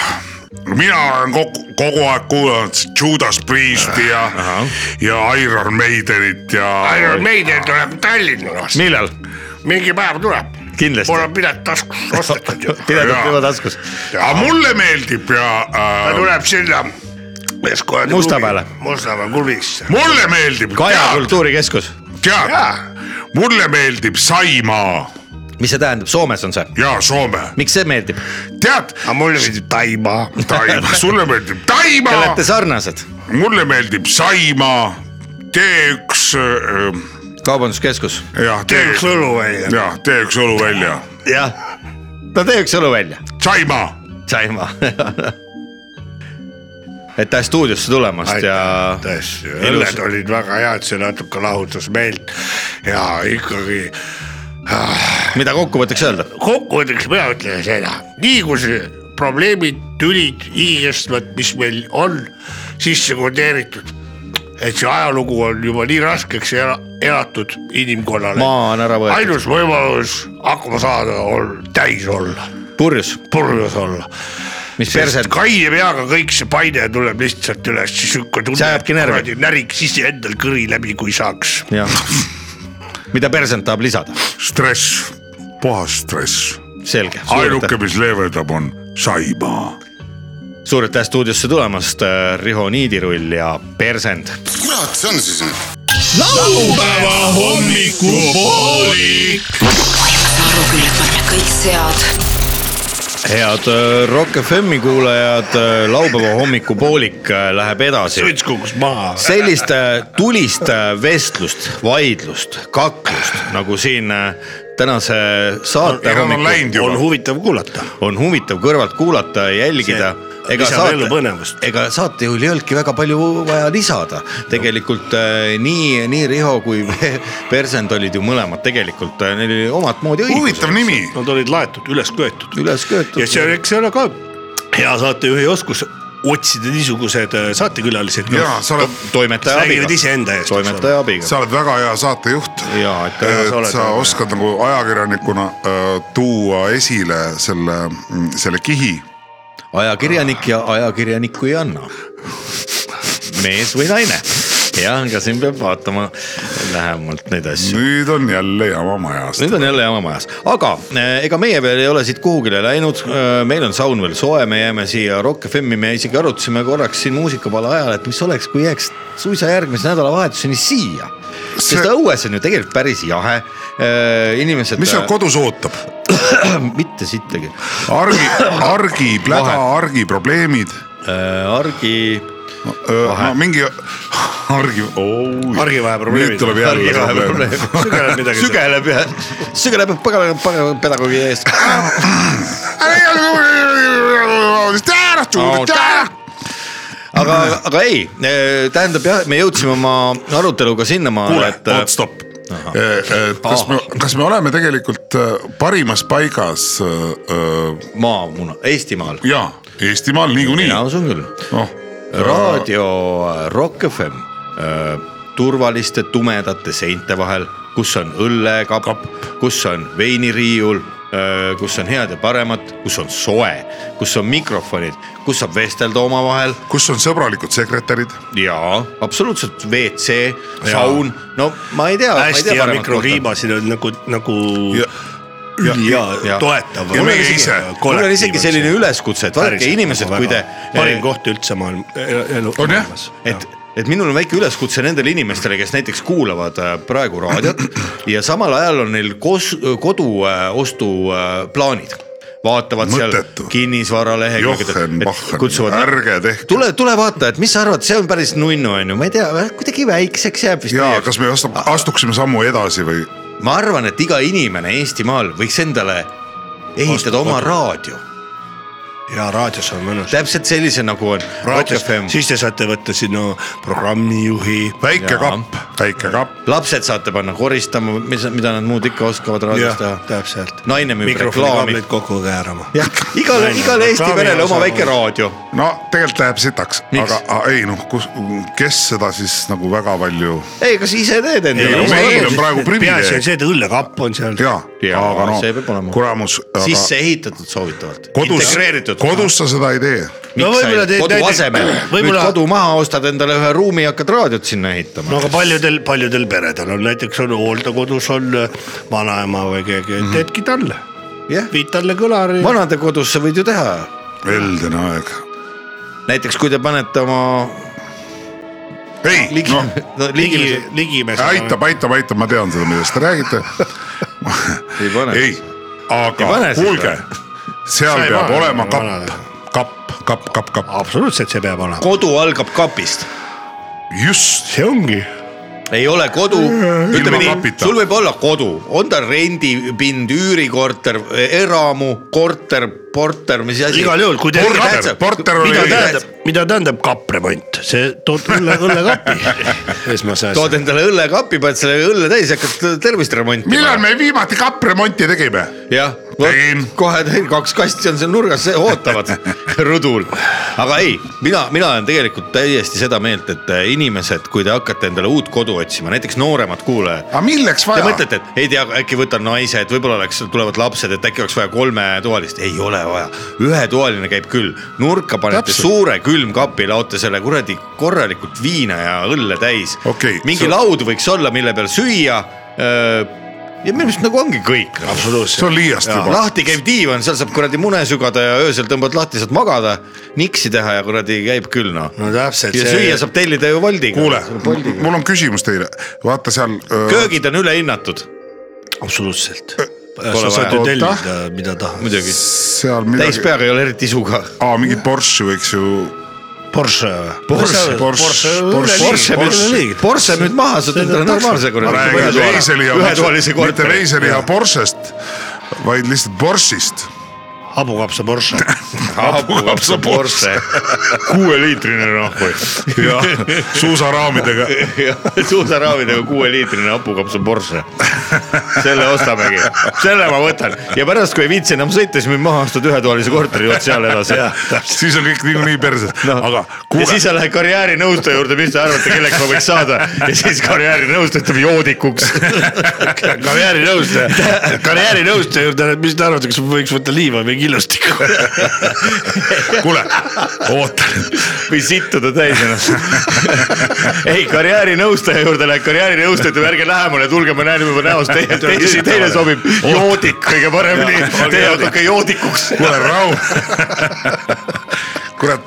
mina olen kogu , kogu aeg kuulanud Judas Priesti ja , ja Iron Maidenit ja .
Iron Maiden tuleb Tallinna vastu ,
millal ?
mingi päev tuleb .
Kindlasti.
mul on pilet taskus ostetud ju .
pidevalt
Jaa.
juba taskus .
aga mulle meeldib ja
ta
äh,
tuleb sinna .
Mustamäele.
Mustamäe klubisse .
mulle meeldib ,
Kaja
tead ,
kultuurikeskus ,
tead , mulle meeldib Saimaa
mis see tähendab , Soomes on see ,
ja Soome ,
miks see meeldib ?
tead ,
aga mulle meeldib Taimaa .
Taimaa , sulle meeldib
Te
Taimaa
olete , sarnased ,
mulle meeldib Saimaa , T1 äh,
kaubanduskeskus ,
jah ,
teeks
T1 ,
õlu välja .
jah , T1 õlu välja ,
jah . no tee üks õlu välja ,
Saimaa
saima . aitäh stuudiosse tulemast ja
tõesti ,
ilus-
õlled olid väga head , see natuke lahutas meelt ja ikkagi
mida kokkuvõtteks öelda ?
kokkuvõtteks mina ütlen seda , nii kui see probleemid , tülid , higikestvad , mis meil on sisse kodeeritud , et see ajalugu on juba nii raskeks ela- elatud inimkonnale .
maa on ära võetud ,
ainus võimalus hakkama saada on täis olla ,
purjus ,
purjus olla .
mis perset
kaine peaga kõik see paine tuleb lihtsalt üles , sihuke
See
tunne ,
ajabki närvi.
näriks iseendal kõri läbi , kui saaks
jah , mida persent tahab lisada ,
stress , puhas stress ,
selge .
ainuke , mis leevendab , on saimaa .
suur aitäh stuudiosse tulemast , Riho Niidirull ja persent .
kurat see on siis nüüd ?
laupäeva hommikupoolik .
Narukülla panna kõik sead
head äh, Rock FM-i kuulajad , laupäeva hommikupoolik äh, läheb edasi .
suits kukkus maha .
sellist äh, tulist äh, vestlust , vaidlust , kaklust nagu siin äh, tänase saate
enam on läinud
on
juba .
huvitav kuulata .
on huvitav kõrvalt kuulata ja jälgida .
See lisab ellu põnevust.
ega saatejuhil ei olnudki väga palju vaja lisada , tegelikult äh, nii , nii Riho kui Persend olid ju mõlemad tegelikult , neil oli omat moodi õigus
huvitav nimi ,
Nad olid laetud , üles köetud .
üles köetud
ja see , eks see ole ka hea saatejuhi oskus otsida niisugused äh, saatekülalised .
jaa , sa oled ,
toimetaja abiga
räägivad . iseenda eest .
toimetaja abiga
sa oled väga hea saatejuht .
ja , et
et
äh,
sa, sa oskad nagu ajakirjanikuna äh, tuua esile selle , selle kihi
ajakirjanik ja ajakirjanikku ei anna . mees või naine , jah , ka siin peab vaatama lähemalt neid asju .
nüüd on jälle jama majas .
nüüd on jälle jama majas , aga äh, ega meie veel ei ole siit kuhugile läinud , meil on saun veel soe , me jääme siia Rock FM-i , me isegi arutasime korraks siin muusikapala ajal , et mis oleks , kui jääks suisa järgmise nädalavahetuseni siia . sest
See-
õues on ju tegelikult päris jahe , inimesed .
mis seal kodus ootab ?
mitte sittagi
argi , argi , pläda ,
Vahe.
argi probleemid .
Äh, argi ,
no mingi argi ,
argivahe
nüüd
probleemid .
tuleb jälle probleem .
sügeleb midagi .
sügeleb ja sügeleb pagana pagana pedagoogi ees . aga , aga ei , tähendab jah , me jõudsime oma aruteluga sinnamaale ,
kuule ,
et eh,
oot , stopp . kas me , kas me oleme tegelikult äh, parimas paigas äh, äh,
maamuna , Eestimaal .
jaa , Eestimaal niikuinii
mina . usun küll .
noh ,
raadio eh, Rock FM , turvaliste tumedate seinte vahel , kus on õllekapp , kus on veiniriiul , kus on head ja paremat , kus on soe , kus on mikrofonid , kus saab vestelda omavahel
kus on sõbralikud sekretärid ,
jaa , absoluutselt WC , saun , no ma ei tea .
hästi hea mikrokliimasid on nagu , nagu
Ja-
ülihea
ja-
toetav .
ja me ise.
mul on isegi selline . üleskutse , et vaadake inimesed , kui te .
parim koht üldse maailm , elu .
On jah?
et , et minul on väike üleskutse nendele inimestele , kes näiteks kuulavad äh, praegu raadiot ja samal ajal on neil kos- , äh, koduostuplaanid . vaatavad
Mõttetu.
seal kinnisvaralehekülgedelt
Jochen
et
Bachen,
kutsuvad-
ärge tehke.
tule , tule vaata , et mis sa arvad , see on päris nunnu , onju , ma ei tea , kuidagi väikseks jääb vist .
jaa , kas me astu- astuksime sammu edasi või ?
ma arvan , et iga inimene Eestimaal võiks endale ehitada oma raadio ,
ja raadios on mõnus .
täpselt sellise , nagu on Rock
raadios
FM ,
siis te saate võtta sinna programmijuhi .
väike
Jaa.
kapp , väike kapp ,
lapsed saate panna koristama , mis , mida nad muud ikka oskavad raadios
jah
teha .,
täpselt .
Naine müüb reklaami.
mikrofonikaableid kokku käärama .
jah , igale ,
Naine
igale
peab
Eesti
reklaami
perele oma
osa-
väike raadio .
no tegelikult läheb sitaks ,
Miks?
aga a- ei noh , kus , kes seda siis nagu väga palju .
ei , kas ise teed
ei , meil on
endale ?
praegu
peaasi on
privileeg .
see , et õllekapp on seal .
jaa ,
Jaa,
aga
see peab olema.
noh , kuramus ,
sisse
aga
ehitatud soovitavalt ,
kodus
integreeritud .,
kodus sa seda ei tee .
No võib-olla teed
kodu
näiteks-
asemel , nüüd
võib-olla-
kodu maha ostad endale ühe ruumi ja hakkad raadiot sinna ehitama
no . aga paljudel , paljudel peredel on näiteks on hooldekodus on äh, vanaema või keegi
Mhm.
mm , -hmm. teedki talle ,
jah ,
viid talle kõlari Van .
vanadekodus sa võid ju teha
heldene aeg .
näiteks kui te panete oma
ei ,
ligi
noh ,
no, ,
ligi , ligimees .
aitab , aitab , aitab , ma tean seda , millest te räägite .
ei pane
ei ,
Ei pane
aga
seda.
kuulge , seal
Sa ei
peab
pane
olema
seda
kapp
vanadega. ,
kapp , kapp , kapp , kapp ,
absoluutselt , see peab olema .
kodu algab kapist ,
just ,
see ongi ,
ei ole kodu , ütleme nii ,
kapita.
sul võib olla kodu , on ta rendipind , üürikorter , eramu , korter , porter , mis asi .
igal juhul , kui te .
Porter, porter oli
mida
õige.
tähendab , mida tähendab kappremont , see tood õlle , õllekapi esmase
tood
asja .
endale õllekapi , paned selle õlle täis , hakkad tervist
millal
remontima .
me viimati kappremonti tegime ?
jah ,
Tegin.
kohe teen , kaks kasti on seal nurgas , ootavad rõdul . aga ei , mina , mina olen tegelikult täiesti seda meelt , et äh, inimesed , kui te hakkate endale uut kodu otsima , näiteks nooremad kuulajad ,
aga milleks
Te
vaja ?
mõtlete , et ei tea , äkki võtan naise , et võib-olla oleks , tulevad lapsed , et äkki oleks vaja kolmetoalist , ei ole vaja . ühetoaline käib küll , nurka panete Täpselt. suure külmkapi , laote selle kuradi korralikult viina ja õlle täis
Okei,
mingi
see-
see... laud võiks olla , mille peal süüa . ja minu meelest nagu ongi kõik .
see on liiast juba .
lahti käiv diivan , seal saab kuradi mune sügada ja öösel tõmbad lahti , saad magada , niksi teha ja kuradi käib küll noh .
no täpselt .
ja süüa saab tellida ju Woldiga .
kuule , mul on küsimus teile , vaata seal .
köögid on ülehinnatud
absoluutselt .
sa
vaja.
saad ju
Oota.
tellida , mida tahad .
muidugi ,
seal
täis
midagi ,
peaga ei ole eriti isu ka .
aa mingi Porsche võiks ju ,
Porsche
Porsche , Porsche , Porsche , Porsche .
või ?
Porsche müüd maha , saad endale normaalse
ma räägin veiseliha ,
ühetoalise
mitte
korteri .
veiseliha Porschest , vaid lihtsalt Porschist .
habukapsa Porsche .
hapukab sa Porsche .
kuueliitrine nahku .
jah , suusaraamidega .
suusaraamidega kuueliitrine hapukapsa Porsche . selle ostamegi , selle ma võtan ja pärast , kui ei viitsi enam sõita , siis müüd maha , ostad ühetoalise korteri , jood seal edasi .
siis on kõik niikuinii perses , aga
ja
kuule
siis , sa lähed karjäärinõustaja juurde , mis te arvate , kelleks ma võiks saada ja siis karjäärinõustaja ütleb joodikuks .
karjäärinõustaja , karjäärinõustaja juurde , mis te arvate , kas ma võiks võtta liiva või killustikku ?
kuule , oota ,
või sittuda täis ennast . ei , karjäärinõustaja juurde lähed , karjäärinõustaja ütleb , ärge lähemale tulge , ma näen juba näost , teie , teie , teile sobib joodik kõige paremini , teie hakake joodikuks .
kuule rahu . kurat ,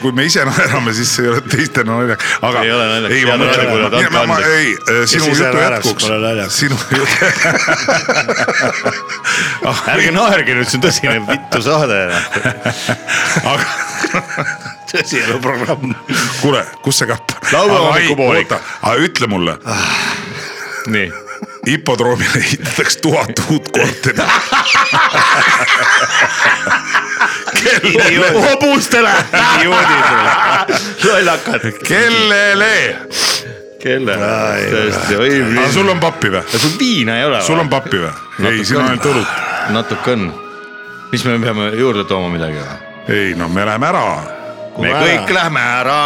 kui me ise naerame , siis ei ole teistel naljakas , aga .
Ei ole naljakas,
ei ,
hea
ma
naer, kuule,
mõtlen ,
andke
ei , ma , ma ,
andeks.
ei , sinu
siis ära
jutu
ära, siis
jätkuks
pole naljakas. ,
sinu jutu ,
Ah, ärge naerge nüüd , see on tõsine vittu saade . noh. tõsine programm .
kuule , kus see kapp ?
Laupäeva hommikupoolik. .
aga ütle mulle ,
nii ,
hipodroomile ehitatakse tuhat uut korterit . kellele ,
hobustele , idioodid , lollakad .
kellele ?
kellele , tõesti ,
aga
oi ,
sul on pappi või ?
sul viina ei ole
sul on pappi või ? ei , siin on ainult õlut .
natuke on . mis me peame juurde tooma midagi või ?
ei no me läheme ära ,
me kõik lähme ära .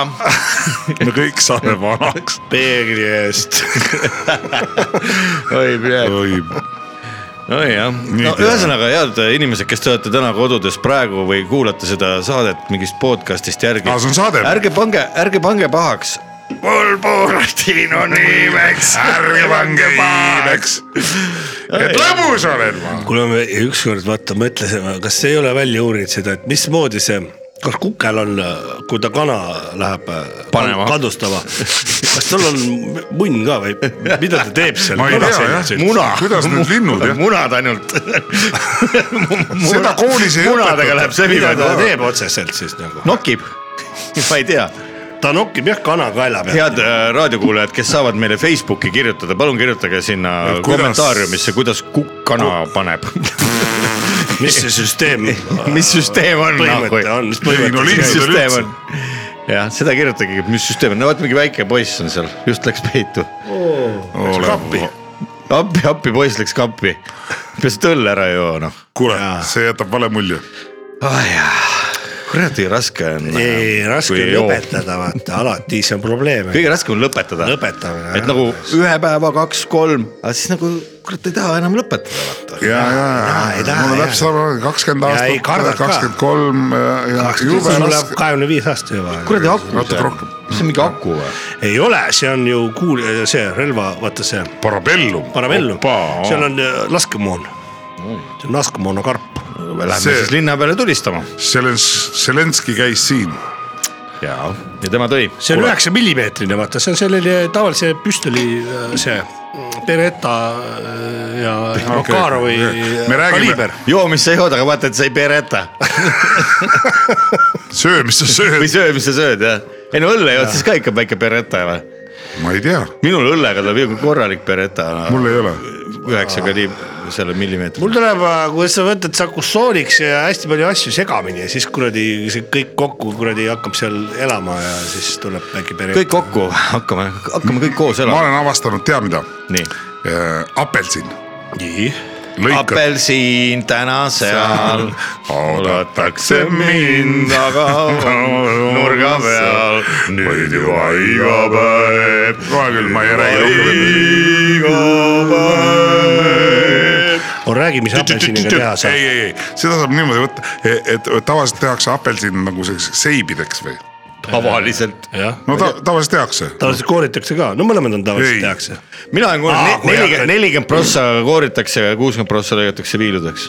me kõik saame vanaks .
peegli eest .
oi , praegu .
oi ,
nojah , no
Nüüd
ühesõnaga head äh, inimesed , kes te olete täna kodudes praegu või kuulate seda saadet mingist podcast'ist järgi .
Aa, see on saade.
ärge pange , ärge pange pahaks . mul Buratino nimeks .
ärge pange paaneks . et lõbus olen ma .
kuule , me ükskord vaata mõtlesime , kas ei ole välja uurinud seda , et mismoodi see , kas kukel on , kui ta kana läheb
Panema.
kadustama , kas tal on munn ka või mida ta teeb seal ?
Ma ei tea, jah.
muna .
Kuidas need linnud, jah?
munad ainult .
seda koolis ei
munadega läheb
mida ta
sebima .
teeb otseselt siis nagu ?
nokib , ma ei tea
ta nokib jah kana kaela peale .
head äh, raadiokuulajad , kes saavad meile Facebooki kirjutada , palun kirjutage sinna
kuidas-
kommentaariumisse , kuidas kukk kana paneb .
mis see süsteem
mis süsteem on
põhimõte on , mis
Ei no
põhimõte
lihtsalt-
mis
Ei,
süsteem
üldse.
on ? jah , seda kirjutage , mis süsteem on , no vot mingi väike poiss on seal , just läks peitu .
olen .
appi , appi poiss läks kappi , peaks et õlle ära joo noh .
kuule , see jätab vale mulje .
kuradi raske on . noh,
ei , raske on lõpetada , vaata alati see on probleem .
kõige raskem on lõpetada .
Lõpetamine,
et
jah.
nagu ühe päeva , kaks , kolm , aga siis nagu kurat ei taha enam lõpetada vaata .
ja , ja ,
Jaa, ei
ja
taha, ,
mul on
jah.
täpselt sama , kakskümmend
Ja ei karda
aastat ,
ka.
kakskümmend kolm ja jube raske .
kahekümne viis aasta juba .
kuradi aku
Natuke
see on
rohkem. ,
mis see on mingi aku või ?
ei ole , see on ju kuul- , see relva , vaata see
Parabellum .
parabellum , seal on äh, laskemoon . see on laskemoonakarp .
Lähme see...
See-
siis linna peale tulistama .
Zelens- , Zelenski käis siin .
ja , ja tema tõi .
see on üheksa millimeetrine , vaata , see on selline tavalise püstoli äh, see Beretta äh, ja äh, Makarovi
me räägime
kaliiber .
joo , mis sa jood , aga vaata , et sa ei pereta
söö , mis sa
või
sööd ,
söö , mis sa sööd jah . ei no õlle jood siis ka ikka väike pereta või ?
ma ei tea ,
minul õllega tuleb ju korralik pereta no, ,
mul ei ole .
üheksa kaliib selle millimeetri .
mul tuleb , kui sa võtad sakussooniks ja hästi palju asju segamini ja siis kuradi see kõik kokku kuradi hakkab seal elama ja siis tuleb väike Beretta .
kõik kokku hakkame , hakkame kõik koos
ma
elama .
olen avastanud , tead mida ?
nii ,
apelsin ,
nii .
lõikad
apelsiin täna seal
oodatakse mind ,
aga nurga peal .
nüüd juba iga päev . hea küll , ma ei räägi rohkem .
iga päev .
on räägi , mis apelsiniga teha
ei ,
saab .
ei , ei , seda saab niimoodi võtta , et tavaliselt tehakse apelsin nagu selliseks seibideks või ?
tavaliselt .
jah ,
no ta, tavaliselt tehakse .
tavaliselt kooritakse ka , no mõlemad on
Ei.
tavaliselt tehakse .
mina olen kuulnud ,
Aa,
nelikümmend ,
jah.
nelikümmend prossa kooritakse ja kuuskümmend prossa lõigatakse viiludeks .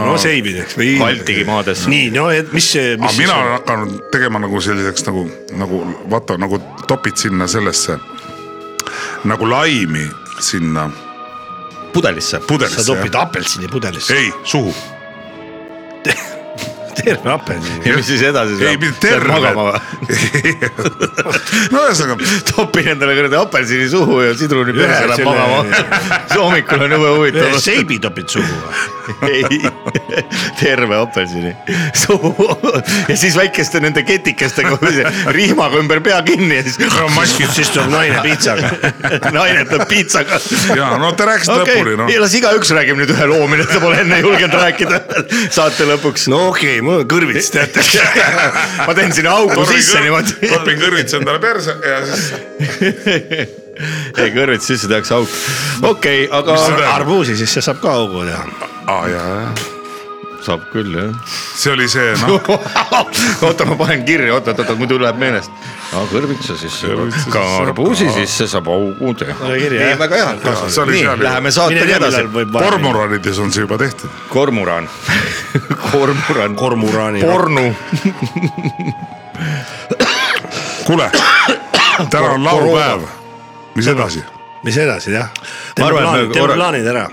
no seibideks või .
Baltigi maades .
nii , no et mis see ,
aga
mis
mina olen hakanud tegema nagu selliseks nagu , nagu vaata , nagu topid sinna sellesse nagu laimi sinna
pudelisse .
sa
pudelisse
topid apelsini pudelisse ,
ei , suhu .
terve apelsini .
ja mis siis edasi
ei , mitte terve . no ühesõnaga ,
topin endale kuradi apelsini suhu ja sidruni
Ühe
perse läheb
selle-
magama . hommikul on jube huvitav .
seibi topid suhu või ?
ei , terve apelsini suhu ja siis väikeste nende ketikestega või see rihmaga ümber pea kinni ja siis
maskid , siis tuleb naine piitsaga .
naine tuleb piitsaga .
ja no te rääkisite
okei
lõpuni , noh .
ja las igaüks räägib nüüd ühe loo , millest ta pole enne julgenud rääkida saate lõpuks .
no okei okay, , mul on kõrvits teate .
ma teen sinna augu sisse niimoodi .
topin kõrvits endale perse ja siis
ei kõrvits sisse tehakse auk , okei okay, , aga
arbuusi sisse saab ka augu teha .
ah, , ja , ja
saab küll jah .
see oli see noh ,
oota , ma panen kirja , oota , oota , muidu läheb meelest . kõrvitsa sisse , ka arbuusi sisse saab augu teha .
Ole kirja,
nii
jah. ,
väga hea .
see oli
nii ,
seal ju .
läheme saatega edasi .
kormoranides on see juba tehtud .
kormuran , kormuran ,
kormuraani .
pornu ,
kuule , täna on laupäev , mis edasi ?
mis edasi jah ?
Ma
teeme
arvan, et me
plaanid, teeme
korra-
plaanid ära .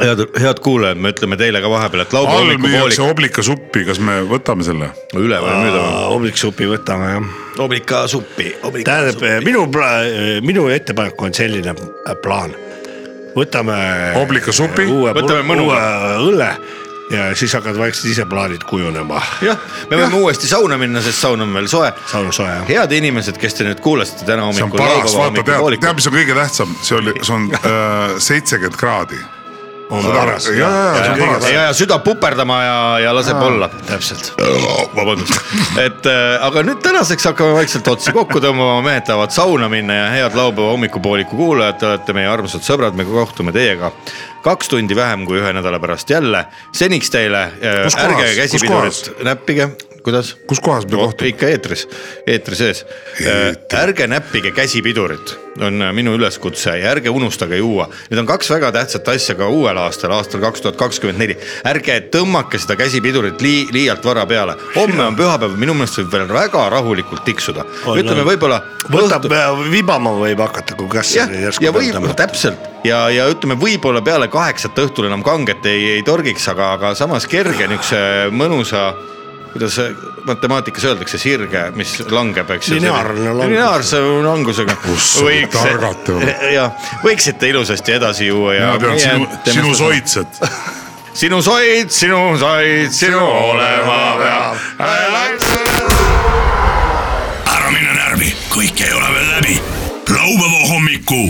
head , head kuulajad , me ütleme teile ka vahepeal , et laupäeva
all
hommikupoolik
müüakse , oblikasuppi , kas me võtame selle ?
üle või müüdame .
oblikssupi võtame jah .
oblikasuppi ,
tähendab , minu , minu ettepanek on selline plaan . võtame . eh,
Oblikasupi?
Võtame
võtame
mõnuga.
mõnuga . õlle ja siis hakkavad vaikselt ise plaanid kujunema .
jah , me võime uuesti sauna minna , sest saun on veel soe .
saun on soe jah .
head inimesed , kes te nüüd kuulasite täna
see on
hommikul .
paras , vaata tead , tead , mis on kõige tähtsam , see oli , see on äh, seitsekümmend kraadi . Äh,
on paras
ja , ja , ja see on paras .
ja , ja süda puperdama ja , ja laseb olla .
täpselt .
vabandust , et äh, aga nüüd tänaseks hakkame vaikselt otsi kokku tõmbama , mehed tahavad sauna minna ja head laupäeva hommikupooliku kuulajad , te olete meie armsad sõbrad , me kohtume teiega kaks tundi vähem kui ühe nädala pärast jälle . seniks teile äh,
Kus kohas?
ärge
Kus
käsipidurit näppige , kuidas ?
kus kohas me kohtume ?
ikka eetris , eetri sees . ärge näppige käsipidurit , on äh, minu üleskutse ja ärge unustage juua . Need on kaks väga tähtsat asja ka uuel aastal , aastal kaks tuhat kakskümmend neli . ärge tõmmake seda käsipidurit lii- , liialt vara peale . homme on pühapäev , minu meelest võib veel väga rahulikult tiksuda . ütleme võib-olla .
võtab , vibama võib hakata , kui kass
jah , ja võib , täpselt ja , ja ütleme , võib-olla peale kaheksat õhtul enam kanget ei , ei torgiks , aga , aga samas kerge niisuguse mõnusa , kuidas matemaatikas öeldakse , sirge , mis langeb , eks ju .
Lineaarne langus.
lineaarse langusega .
sa targad oled.
jah , võiksite ilusasti edasi juua ja .
mina tean sinu , sinu . soitset .
sinu soid , sinu soid , sinu olema peab .
ära mine närvi , kõik ei ole veel läbi . laupäeva hommiku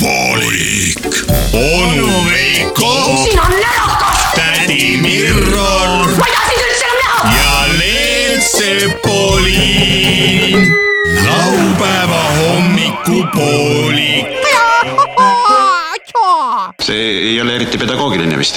poolik . onu Veiko ,
siin on närakas ,
tädi Mirror
ma ei taha sind üldse enam näha .
ja Leelsepoliin . laupäeva hommikupoolik .
see ei ole eriti pedagoogiline vist .